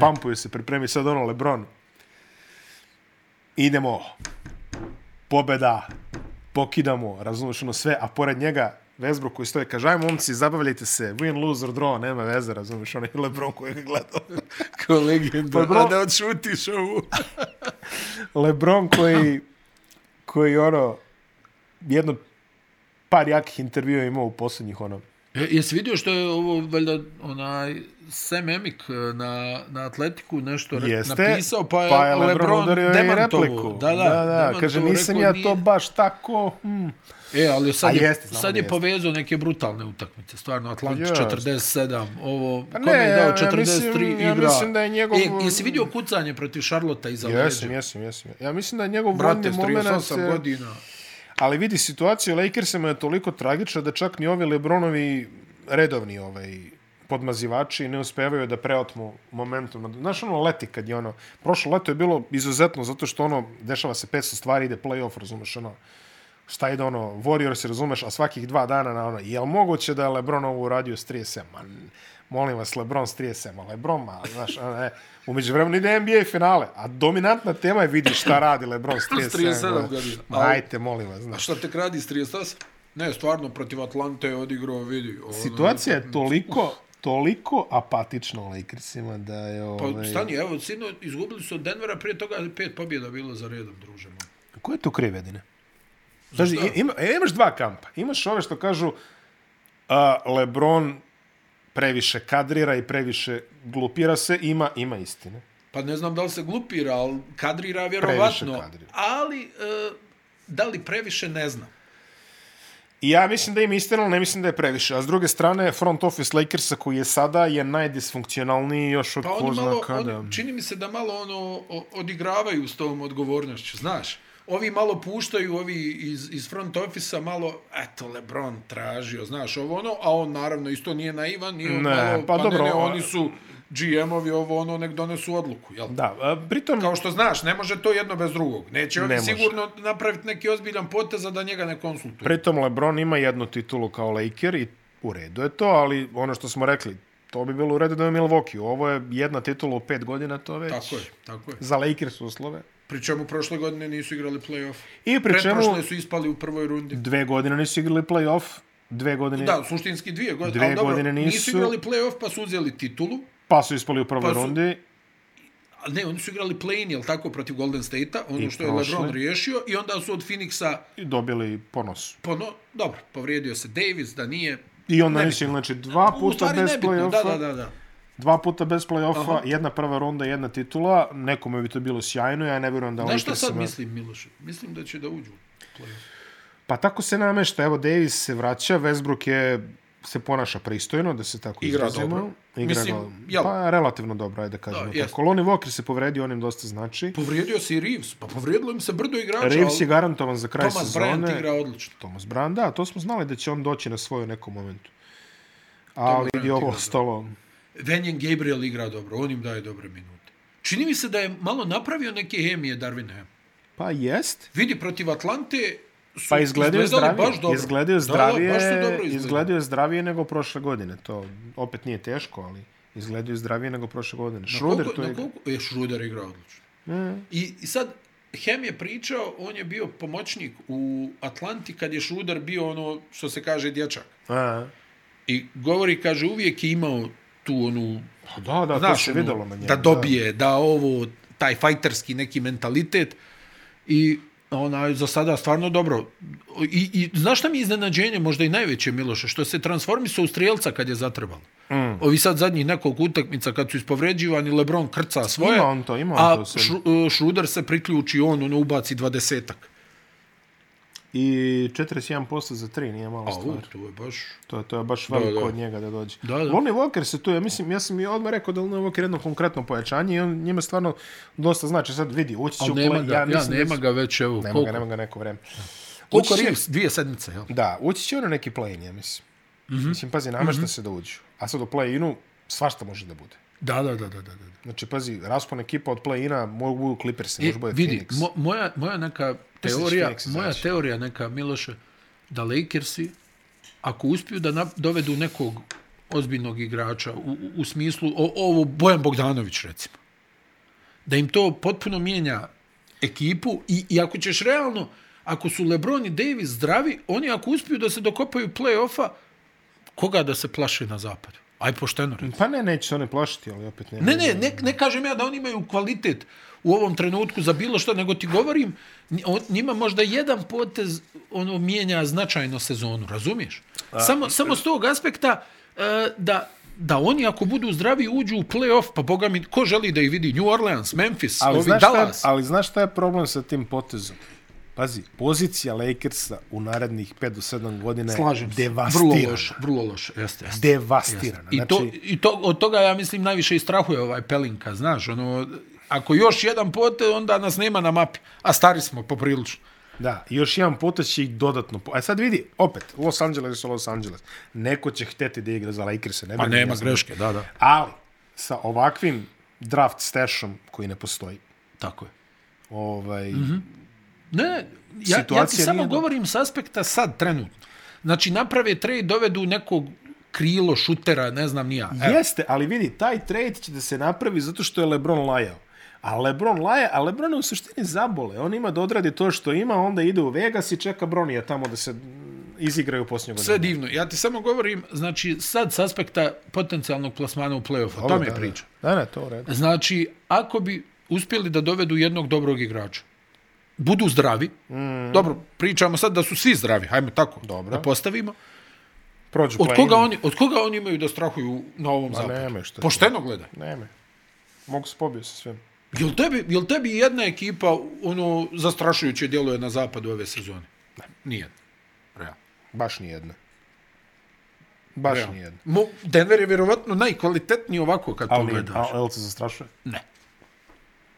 Speaker 1: pampuje se, pripremi sad ono Lebron. Idemo. Pobeda. Pokidamo, razumiješ ono sve, a pored njega Westbrook koji stoje, kaže, aj momci, zabavljajte se, win, lose or draw, nema veze, razumiješ, onaj Lebron koji ga gledao.
Speaker 2: Kao legenda,
Speaker 1: Pa, bro.
Speaker 2: a da odšutiš ovu.
Speaker 1: Lebron koji, koji ono, jedno par jakih intervjua imao u posljednjih ono,
Speaker 2: E, Jesi vidio što je ovo, valjda, onaj Sam Emik e, na, na Atletiku nešto re-
Speaker 1: Jeste,
Speaker 2: napisao, pa je,
Speaker 1: pa je Lebron, Lebron udario i
Speaker 2: demantovo.
Speaker 1: repliku.
Speaker 2: Da, da,
Speaker 1: da, da
Speaker 2: demantovo,
Speaker 1: kaže nisam
Speaker 2: rekao,
Speaker 1: ja
Speaker 2: nije-
Speaker 1: to baš tako. Hm.
Speaker 2: E, ali sad
Speaker 1: A
Speaker 2: je,
Speaker 1: jeste, znamo
Speaker 2: sad
Speaker 1: da
Speaker 2: je
Speaker 1: jeste.
Speaker 2: povezao neke brutalne utakmice. Stvarno, Atlantis
Speaker 1: Pa jest.
Speaker 2: 47, ovo,
Speaker 1: Pa
Speaker 2: pa
Speaker 1: ne,
Speaker 2: kome je
Speaker 1: ja-
Speaker 2: dao
Speaker 1: ja
Speaker 2: 43
Speaker 1: mislim-
Speaker 2: igra.
Speaker 1: ja mislim da je njegov-
Speaker 2: E, jesi vidio kucanje protiv Šarlota iza
Speaker 1: Jesam,
Speaker 2: leđa?
Speaker 1: jesam, jesam. Ja mislim da je njegov
Speaker 2: Brate,
Speaker 1: vodni
Speaker 2: s
Speaker 1: moment...
Speaker 2: 38 godina.
Speaker 1: Ali vidi, situacija u Lakersima je toliko tragična da čak ni ovi Lebronovi redovni ovaj podmazivači ne uspevaju da preotmu momentum. Znaš, ono leti kad je ono... Prošlo leto je bilo izuzetno zato što ono, dešava se 500 stvari, ide playoff, razumeš, ono šta ide ono, Warriors, razumeš, a svakih dva dana na ono, jel moguće da je Lebron ovo uradio s 37? Ma, n- molim vas, Lebron s 37, a Lebron, ma, znaš, ono, e, umeđu vremenu ide NBA finale, a dominantna tema je vidi šta radi Lebron s ono, 37,
Speaker 2: S 37
Speaker 1: godina.
Speaker 2: godina.
Speaker 1: Ma, Ajte, molim vas,
Speaker 2: A
Speaker 1: znaš.
Speaker 2: šta te kradi s 38? Ne, stvarno, protiv Atlante je odigrao, vidi. Ono,
Speaker 1: Situacija je toliko, toliko apatična u Lakersima da je...
Speaker 2: Pa
Speaker 1: Ovaj,
Speaker 2: stani, evo, sino, izgubili su od Denvera, prije toga je pet pobjeda bilo za redom, druže moj.
Speaker 1: Ko je tu kriv jedine? Znači,
Speaker 2: šta?
Speaker 1: ima, e, imaš dva kampa. Imaš ove što kažu a, Lebron previše kadrira i previše glupira se, ima, ima istine.
Speaker 3: Pa ne znam da li se glupira, ali kadrira vjerovatno.
Speaker 1: kadrira.
Speaker 3: Ali, e, da li previše, ne znam.
Speaker 1: I ja mislim da im istina, ali ne mislim da je previše. A s druge strane, front office Lakersa koji je sada je najdisfunkcionalniji još od
Speaker 3: Pa
Speaker 1: ko
Speaker 3: oni
Speaker 1: zna
Speaker 3: malo,
Speaker 1: kada.
Speaker 3: oni, čini mi se da malo ono o- odigravaju s tom odgovornošću, znaš. Ovi malo puštaju, ovi iz, iz front ofisa malo, eto, Lebron tražio, znaš, ovo ono, a on naravno isto nije naivan, nije on
Speaker 1: Ne,
Speaker 3: malo,
Speaker 1: pa
Speaker 3: pa,
Speaker 1: dobro,
Speaker 3: ne, ne,
Speaker 1: o-
Speaker 3: oni su GM-ovi, ovo ono, nek donesu odluku, jel?
Speaker 1: Da, a, pritom...
Speaker 3: Kao što znaš, ne može to jedno bez drugog. Neće
Speaker 1: Ne
Speaker 3: ovi
Speaker 1: može.
Speaker 3: sigurno napraviti neki ozbiljan potez a da njega ne konsultuju.
Speaker 1: Pritom LeBron ima jednu titulu kao Laker i u redu je to, ali ono što smo rekli, to bi bilo u redu da je Milwaukee. Ovo je jedna titula u pet godina, to već
Speaker 3: Tako je, tako je.
Speaker 1: za Lakers uslove.
Speaker 3: Pri čemu prošle godine nisu igrali play-off.
Speaker 1: I pri čemu
Speaker 3: Pretprošle su ispali u prvoj rundi.
Speaker 1: dve godine nisu igrali play-off, dve godine
Speaker 3: Da, suštinski dvije godine.
Speaker 1: Dve
Speaker 3: ali dobro,
Speaker 1: godine nisu-
Speaker 3: nisu igrali play-off pa su uzeli titulu.
Speaker 1: pa su ispali u prvoj
Speaker 3: Pa su-
Speaker 1: rundi.
Speaker 3: A ne, oni su igrali play-in, jel tako, protiv Golden State-a, ono
Speaker 1: I
Speaker 3: što je
Speaker 1: prošli.
Speaker 3: LeBron riješio i onda su od Phoenixa
Speaker 1: i dobili po nosu.
Speaker 3: pono... Dobro, povrijedio se Davis, da nije...
Speaker 1: I onda
Speaker 3: Nebitno.
Speaker 1: nisu, znači, dva
Speaker 3: U
Speaker 1: puta
Speaker 3: stvari
Speaker 1: bez
Speaker 3: nebitno, da,
Speaker 1: play-offa,
Speaker 3: da, da, da.
Speaker 1: dva puta bez play-offa,
Speaker 3: Aha.
Speaker 1: jedna prva ronda, jedna titula, nekome bi to bilo sjajno, ja ne vjerujem da
Speaker 3: Znaš šta sad
Speaker 1: Lakersima-
Speaker 3: mislim, Miloše? Mislim da će da uđu u play-off.
Speaker 1: Pa tako se namešta, evo Davis se vraća, Westbrook je se ponaša pristojno, da se tako
Speaker 3: Igra
Speaker 1: izrazimo.
Speaker 3: dobro.
Speaker 1: Igra
Speaker 3: Mislim,
Speaker 1: go-
Speaker 3: jel?
Speaker 1: Pa relativno dobro, ajde da kažemo
Speaker 3: Da, jest.
Speaker 1: tako. Lonnie Walker se povredio, on im dosta znači.
Speaker 3: Povrijedio se i Reeves, pa povrijedilo im se brdo igrača,
Speaker 1: Reeves je
Speaker 3: ali
Speaker 1: garantovan za kraj
Speaker 3: Thomas
Speaker 1: sezone.
Speaker 3: Bryant igra odlično.
Speaker 1: Thomas Brand, da, to smo znali da će on doći na svoju nekom momentu.
Speaker 3: Thomas
Speaker 1: Ali
Speaker 3: Bryant
Speaker 1: je ovo
Speaker 3: igra, da.
Speaker 1: ostalo...
Speaker 3: Venjen Gabriel igra dobro, on im daje dobre minute. Čini mi se da je malo napravio neke hemije Darvin Ham.
Speaker 1: Pa jest,
Speaker 3: Vidi, protiv Atlante su
Speaker 1: Pa izgledaju
Speaker 3: izgledali
Speaker 1: zdravije,
Speaker 3: baš dobro.
Speaker 1: izgledaju
Speaker 3: Da, da,
Speaker 1: zdravije,
Speaker 3: baš su dobro izgledali.
Speaker 1: izgledaju zdravije nego prošle godine. To opet nije teško, ali izgledaju zdravije nego prošle godine.
Speaker 3: Na
Speaker 1: Schroeder
Speaker 3: koliko-
Speaker 1: to
Speaker 3: na
Speaker 1: je...
Speaker 3: koliko- E, Schroeder igra odlično.
Speaker 1: Mm.
Speaker 3: I, I sad, Hem je pričao, on je bio pomoćnik u Atlanti kad je Schroeder bio ono, što se kaže, dječak.
Speaker 1: A,
Speaker 3: I govori, kaže, uvijek je imao tu onu,
Speaker 1: pa da, da, to
Speaker 3: znaš,
Speaker 1: se
Speaker 3: ono,
Speaker 1: videlo na njemu.
Speaker 3: da dobije, da. da ovo, taj fajterski neki mentalitet. I onaj, za sada stvarno dobro. I, i znaš šta mi je iznenađenje, možda i najveće, Miloše, što se transformisao u strijelca kad je zatrebalo. Mm. Ovi sad zadnjih nekoliko utakmica kad su ispovređivani, Lebron krca svoje,
Speaker 1: Ima on to, ima on
Speaker 3: a
Speaker 1: to sve.
Speaker 3: Šru- e, Šruder se priključi, on ono ubaci dvadesetak.
Speaker 1: I 41% za 3, nije malo
Speaker 3: A, Pa u,
Speaker 1: Pa stvar.
Speaker 3: to je baš...
Speaker 1: To, je- to je baš veliko
Speaker 3: da.
Speaker 1: od njega da dođe.
Speaker 3: Da, da.
Speaker 1: Lonnie Walker se tu, ja mislim, ja sam i odmah rekao da je Lonnie Walker jedno konkretno pojačanje i on njima stvarno dosta znači. Sad vidi, ući će u
Speaker 3: Ali nema
Speaker 1: play.
Speaker 3: ga, ja,
Speaker 1: mislim da
Speaker 3: nema
Speaker 1: su-
Speaker 3: ga već, evo,
Speaker 1: Nema ga,
Speaker 3: koliko,
Speaker 1: nema ga neko vreme.
Speaker 3: koliko
Speaker 1: Ući će-
Speaker 3: Reeves? Dvije sedmice, jel?
Speaker 1: Da, ući će ono neki play-in, ja mislim. Mm
Speaker 3: Mhm.
Speaker 1: -hmm. Mislim, pazi, namešta mm -hmm. se da uđu. A sad u play-inu svašta može da bude.
Speaker 3: Da, da, da, da, da. da.
Speaker 1: Znači, pazi, raspon ekipa od play-ina mogu Clippers,
Speaker 3: E,
Speaker 1: može bude
Speaker 3: vidi,
Speaker 1: Phoenix.
Speaker 2: mo, moja, moja neka
Speaker 1: Misliš
Speaker 2: teorija,
Speaker 1: Phoenix izaći?
Speaker 2: moja teorija neka, Miloše, da Lakersi, ako uspiju da na, dovedu nekog ozbiljnog igrača u, u, u smislu, o, ovo Bojan Bogdanović recimo, da im to potpuno mijenja ekipu i, i ako ćeš realno, ako su Lebron i Davis zdravi, oni ako uspiju da se dokopaju play-offa, koga da se plaše na zapadu? Aj pošteno reći.
Speaker 1: Pa ne, neće se one plašiti, ali opet nema.
Speaker 2: Ne, ne, ne, ne kažem ja da oni imaju kvalitet u ovom trenutku za bilo što, nego ti govorim, nj- on- njima možda jedan potez ono mijenja značajno sezonu, razumiješ? Samo, samo s tog aspekta e, da, da oni ako budu zdravi uđu u play-off, pa boga mi, ko želi da ih vidi? New Orleans, Memphis,
Speaker 1: ali,
Speaker 2: ovi
Speaker 1: znaš šta,
Speaker 2: Dallas.
Speaker 1: ali znaš šta je problem sa tim potezom? Pazi, pozicija Lakersa u narednih 5 do 7 godina je
Speaker 2: Slažem se.
Speaker 1: devastirana.
Speaker 2: Vrlo loš, vrlo loš, jeste, jeste.
Speaker 1: Devastirana.
Speaker 2: I, to,
Speaker 1: Znači-
Speaker 2: i to, od toga ja mislim najviše i strahuje ovaj Pelinka, znaš, ono, ako još jedan potez, onda nas nema na mapi, a stari smo poprilično.
Speaker 1: Da, i još jedan potez će ih dodatno... Po... A sad vidi, opet, Los Angeles je Los Angeles. Neko će hteti da igra za Lakers, ne
Speaker 2: Pa
Speaker 1: brinem,
Speaker 2: nema
Speaker 1: ja znam.
Speaker 2: greške, da, da.
Speaker 1: Ali, sa ovakvim draft stashom koji ne postoji,
Speaker 2: Tako je.
Speaker 1: ovaj,
Speaker 2: Mhm.
Speaker 1: mm -hmm.
Speaker 2: Ne, ne, ja, ja ti
Speaker 1: Situacija
Speaker 2: samo
Speaker 1: nije dobra.
Speaker 2: govorim s aspekta sad, trenutno. Znači, naprave trade, dovedu nekog krilo, šutera, ne znam ni ja. E, Evo,
Speaker 1: jeste, ali vidi, taj trade će da se napravi zato što je Lebron lajao. A Lebron laje, a Lebron je u suštini zabole. On ima da odradi to što ima, onda ide u Vegas i čeka Bronija tamo da se mm, izigraju posljednje godine.
Speaker 2: sve divno. Ja ti samo govorim, znači, sad s aspekta potencijalnog plasmana u play-offu. O tome je priča.
Speaker 1: Da, ne, to u redu.
Speaker 2: Znači, ako bi uspjeli da dovedu jednog dobrog igrača, budu zdravi, mm. dobro, pričamo sad da su svi zdravi, hajmo tako,
Speaker 1: Dobro.
Speaker 2: da postavimo,
Speaker 1: Prođu
Speaker 2: od
Speaker 1: play-in.
Speaker 2: koga, oni, od koga oni imaju da strahuju na ovom zapadu?
Speaker 1: Pa nemaju što-
Speaker 2: Pošteno gledaj.
Speaker 1: Neme. mogu se pobio sa svim.
Speaker 2: Jel tebi, jel tebi jedna ekipa ono zastrašujuće djeluje na zapadu ove sezone? Ne. Nijedna. Realno.
Speaker 1: Baš nijedna. Baš
Speaker 2: Realno.
Speaker 1: nijedna.
Speaker 2: Mo, Denver je vjerovatno najkvalitetniji ovako kad
Speaker 1: Ali,
Speaker 2: pogledaš.
Speaker 1: a, jel se zastrašuje?
Speaker 2: Ne.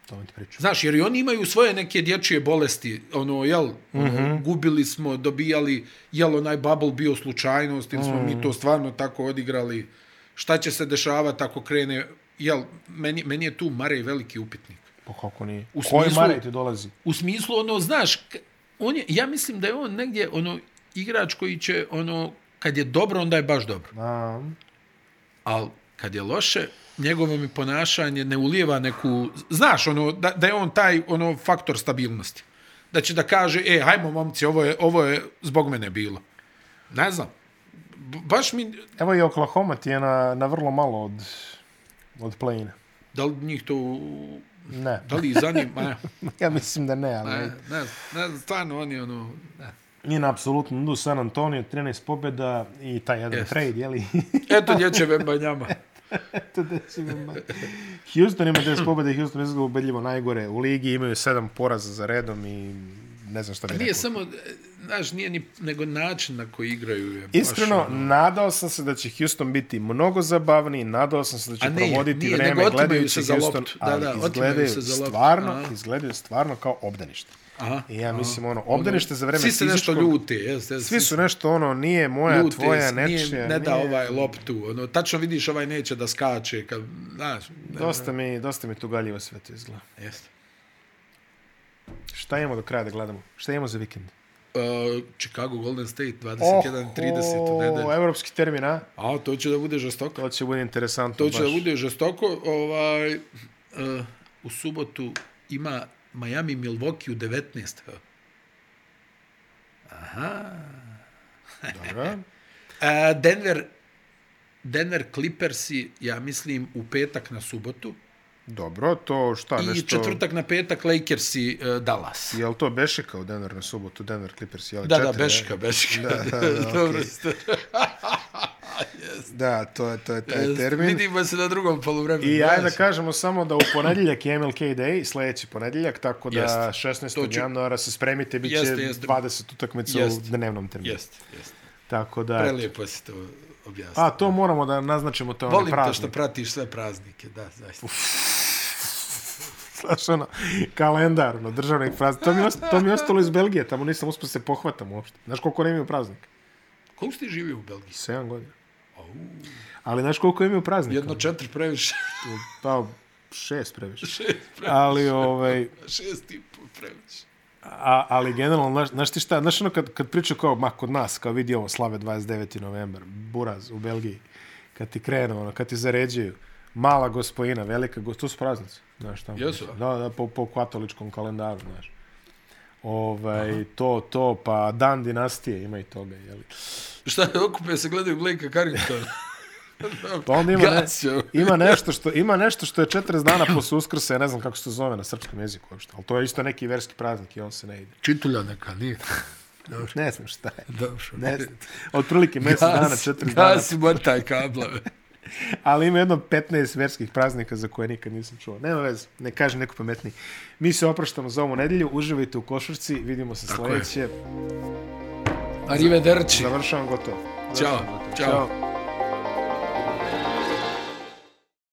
Speaker 1: To mi ti pričam.
Speaker 2: Znaš, jer i oni imaju svoje neke dječje bolesti, ono, jel, ono, gubili smo, dobijali, jel, onaj bubble bio slučajnost, ili smo mi to stvarno tako odigrali, šta će se dešavati ako krene, jel, meni, meni je tu Marej veliki upitnik.
Speaker 1: Pa kako nije?
Speaker 2: U
Speaker 1: Koji
Speaker 2: smislu-
Speaker 1: Marej ti dolazi?
Speaker 2: U smislu, ono, znaš, k- on je, ja mislim da je on negdje, ono, igrač koji će, ono, kad je dobro, onda je baš dobro.
Speaker 1: A,
Speaker 2: ali kad je loše, njegovo mi ponašanje ne ulijeva neku... Znaš, ono, da, da je on taj ono faktor stabilnosti. Da će da kaže, e, hajmo momci, ovo je, ovo je zbog mene bilo. Ne znam. B- Baš mi...
Speaker 1: evo i Oklahoma ti je na, na vrlo malo od, od play
Speaker 2: Da li njih to...
Speaker 1: Ne,
Speaker 2: Da li ih zanima? Ne,
Speaker 1: ja mislim da ne, ali
Speaker 2: ne, ne, ne znam, stvarno oni ono... Ne.
Speaker 1: nije na apsolutno nudu San Antonio, 13 pobjeda i taj jedan
Speaker 2: Jest.
Speaker 1: trade, jeli?
Speaker 2: Eto lječe Vembanjama.
Speaker 1: To da će me ma- Houston ima 10 pobjeda i Houston izgleda ubedljivo najgore u ligi, imaju 7 poraza za redom i ne znam šta bi
Speaker 2: Nije
Speaker 1: rekao.
Speaker 2: samo, e, znaš, nije ni, nego način na koji igraju. Je baš
Speaker 1: Iskreno,
Speaker 2: ono-
Speaker 1: nadao sam se da će Houston biti mnogo zabavniji, nadao sam se da će
Speaker 2: A ne,
Speaker 1: provoditi
Speaker 2: nije,
Speaker 1: vreme
Speaker 2: nego otimaju
Speaker 1: gledajući
Speaker 2: se za
Speaker 1: Houston,
Speaker 2: loptu. Da,
Speaker 1: ali
Speaker 2: da, otimaju
Speaker 1: izgledaju,
Speaker 2: se za loptu.
Speaker 1: stvarno,
Speaker 2: Aha.
Speaker 1: izgledaju stvarno kao obdanište.
Speaker 2: Aha.
Speaker 1: I ja mislim, ono, obdanište za vreme
Speaker 2: Svi se nešto
Speaker 1: fizičkog-
Speaker 2: ljute, jes, jes,
Speaker 1: Svi su nešto ono, nije moja,
Speaker 2: Ljute,
Speaker 1: tvoja,
Speaker 2: nije-
Speaker 1: nečija.
Speaker 2: Ne da
Speaker 1: nije-
Speaker 2: ovaj loptu. Ono, tačno vidiš ovaj neće da skače. Kad, znaš, ne,
Speaker 1: Dosta mi, dosta mi tugaljivo sve to izgleda.
Speaker 2: jeste.
Speaker 1: Šta imamo do kraja da gledamo? Šta imamo za vikend?
Speaker 2: Uh, Chicago Golden State 21-30 u nedelju.
Speaker 1: Oho, evropski termin, a?
Speaker 2: A, to će da bude žestoko.
Speaker 1: To će bude interesantno
Speaker 2: To će
Speaker 1: baš.
Speaker 2: da bude žestoko. Ovaj, uh, u subotu ima Miami Milwaukee u 19.
Speaker 1: Dobro.
Speaker 2: A, E, Denver, Denver Clippersi, ja mislim, u petak na subotu.
Speaker 1: Dobro, to šta
Speaker 2: I
Speaker 1: Pa nešto...
Speaker 2: četvrtak na petak Lakersi uh, Dallas.
Speaker 1: Jel to Bešika u Denver na subotu, Denver Clippers? Jel,
Speaker 2: Da,
Speaker 1: četiri,
Speaker 2: da,
Speaker 1: ne?
Speaker 2: Beška, Beška.
Speaker 1: Da, da, da,
Speaker 2: Dobro
Speaker 1: okej.
Speaker 2: ste.
Speaker 1: Da, to je, to je taj E, termin.
Speaker 2: E, Vidimo se na drugom poluvremenu.
Speaker 1: I ajde da
Speaker 2: znaš.
Speaker 1: kažemo samo da u ponedjeljak je MLK Day, sljedeći ponedjeljak, tako da
Speaker 2: Jeste.
Speaker 1: 16.
Speaker 2: To ću-
Speaker 1: januara se spremite, bit će
Speaker 2: Jeste, jeste.
Speaker 1: 20 utakmica u
Speaker 2: Jeste.
Speaker 1: dnevnom terminu.
Speaker 2: Jeste, jeste.
Speaker 1: Tako da...
Speaker 2: Prelijepo si to objasnio.
Speaker 1: A, to moramo da naznačimo, to je onaj
Speaker 2: Volim to što
Speaker 1: praznik.
Speaker 2: pratiš sve praznike, da, zaista.
Speaker 1: Znaš, ono, kalendar, ono, državni praznik. To mi, je ost- to mi je ostalo iz Belgije, tamo nisam uspio se pohvatam uopšte. Znaš koliko ne imaju praznika?
Speaker 2: Koliko ste živio u Belgiji?
Speaker 1: 7 godina. Ali znaš koliko imaju praznika?
Speaker 2: Jedno četiri previše,
Speaker 1: Pa, šest previše.
Speaker 2: šest, pre,
Speaker 1: Ali, ovaj,
Speaker 2: šest i pol previše.
Speaker 1: a, ali generalno, znaš, znaš ti šta, znaš ono kad, kad pričaju kao, ma kod nas, kao vidi ovo, slave 29. novembar, buraz u Belgiji, kad ti krenu, ono, kad ti zaređuju, mala gospojina, velika gospojina, tu su praznici, znaš tamo.
Speaker 2: Jesu?
Speaker 1: Da, da, po, po katoličkom kalendaru, znaš. Ovaj, to, to, pa dan dinastije ima i toga, jeli.
Speaker 2: Šta, okupe se, gledaju Blake Carrington.
Speaker 1: Pa onda ima, ne,
Speaker 2: Gasio.
Speaker 1: ima, nešto što, ima nešto što je 40 dana posle uskrsa, ja ne znam kako se to zove na srpskom jeziku uopšte, ali to je isto neki verski praznik i on se ne ide.
Speaker 2: Čitulja neka, nije.
Speaker 1: Ne znam šta je.
Speaker 2: Dobro.
Speaker 1: Ne znam. Otprilike mjesec dana, četiri dana.
Speaker 2: Gasi, motaj kablove.
Speaker 1: Ali ima jedno 15 verskih praznika za koje nikad nisam čuo. Nema veze, ne kaže neko pametniji. Mi se opraštamo za ovu nedelju, uživajte u košarci, vidimo se
Speaker 2: Tako je.
Speaker 1: sljedeće.
Speaker 2: Arrivederci.
Speaker 1: Završavam gotovo.
Speaker 2: Ćao.
Speaker 1: Završavam gotovo.
Speaker 2: Ćao.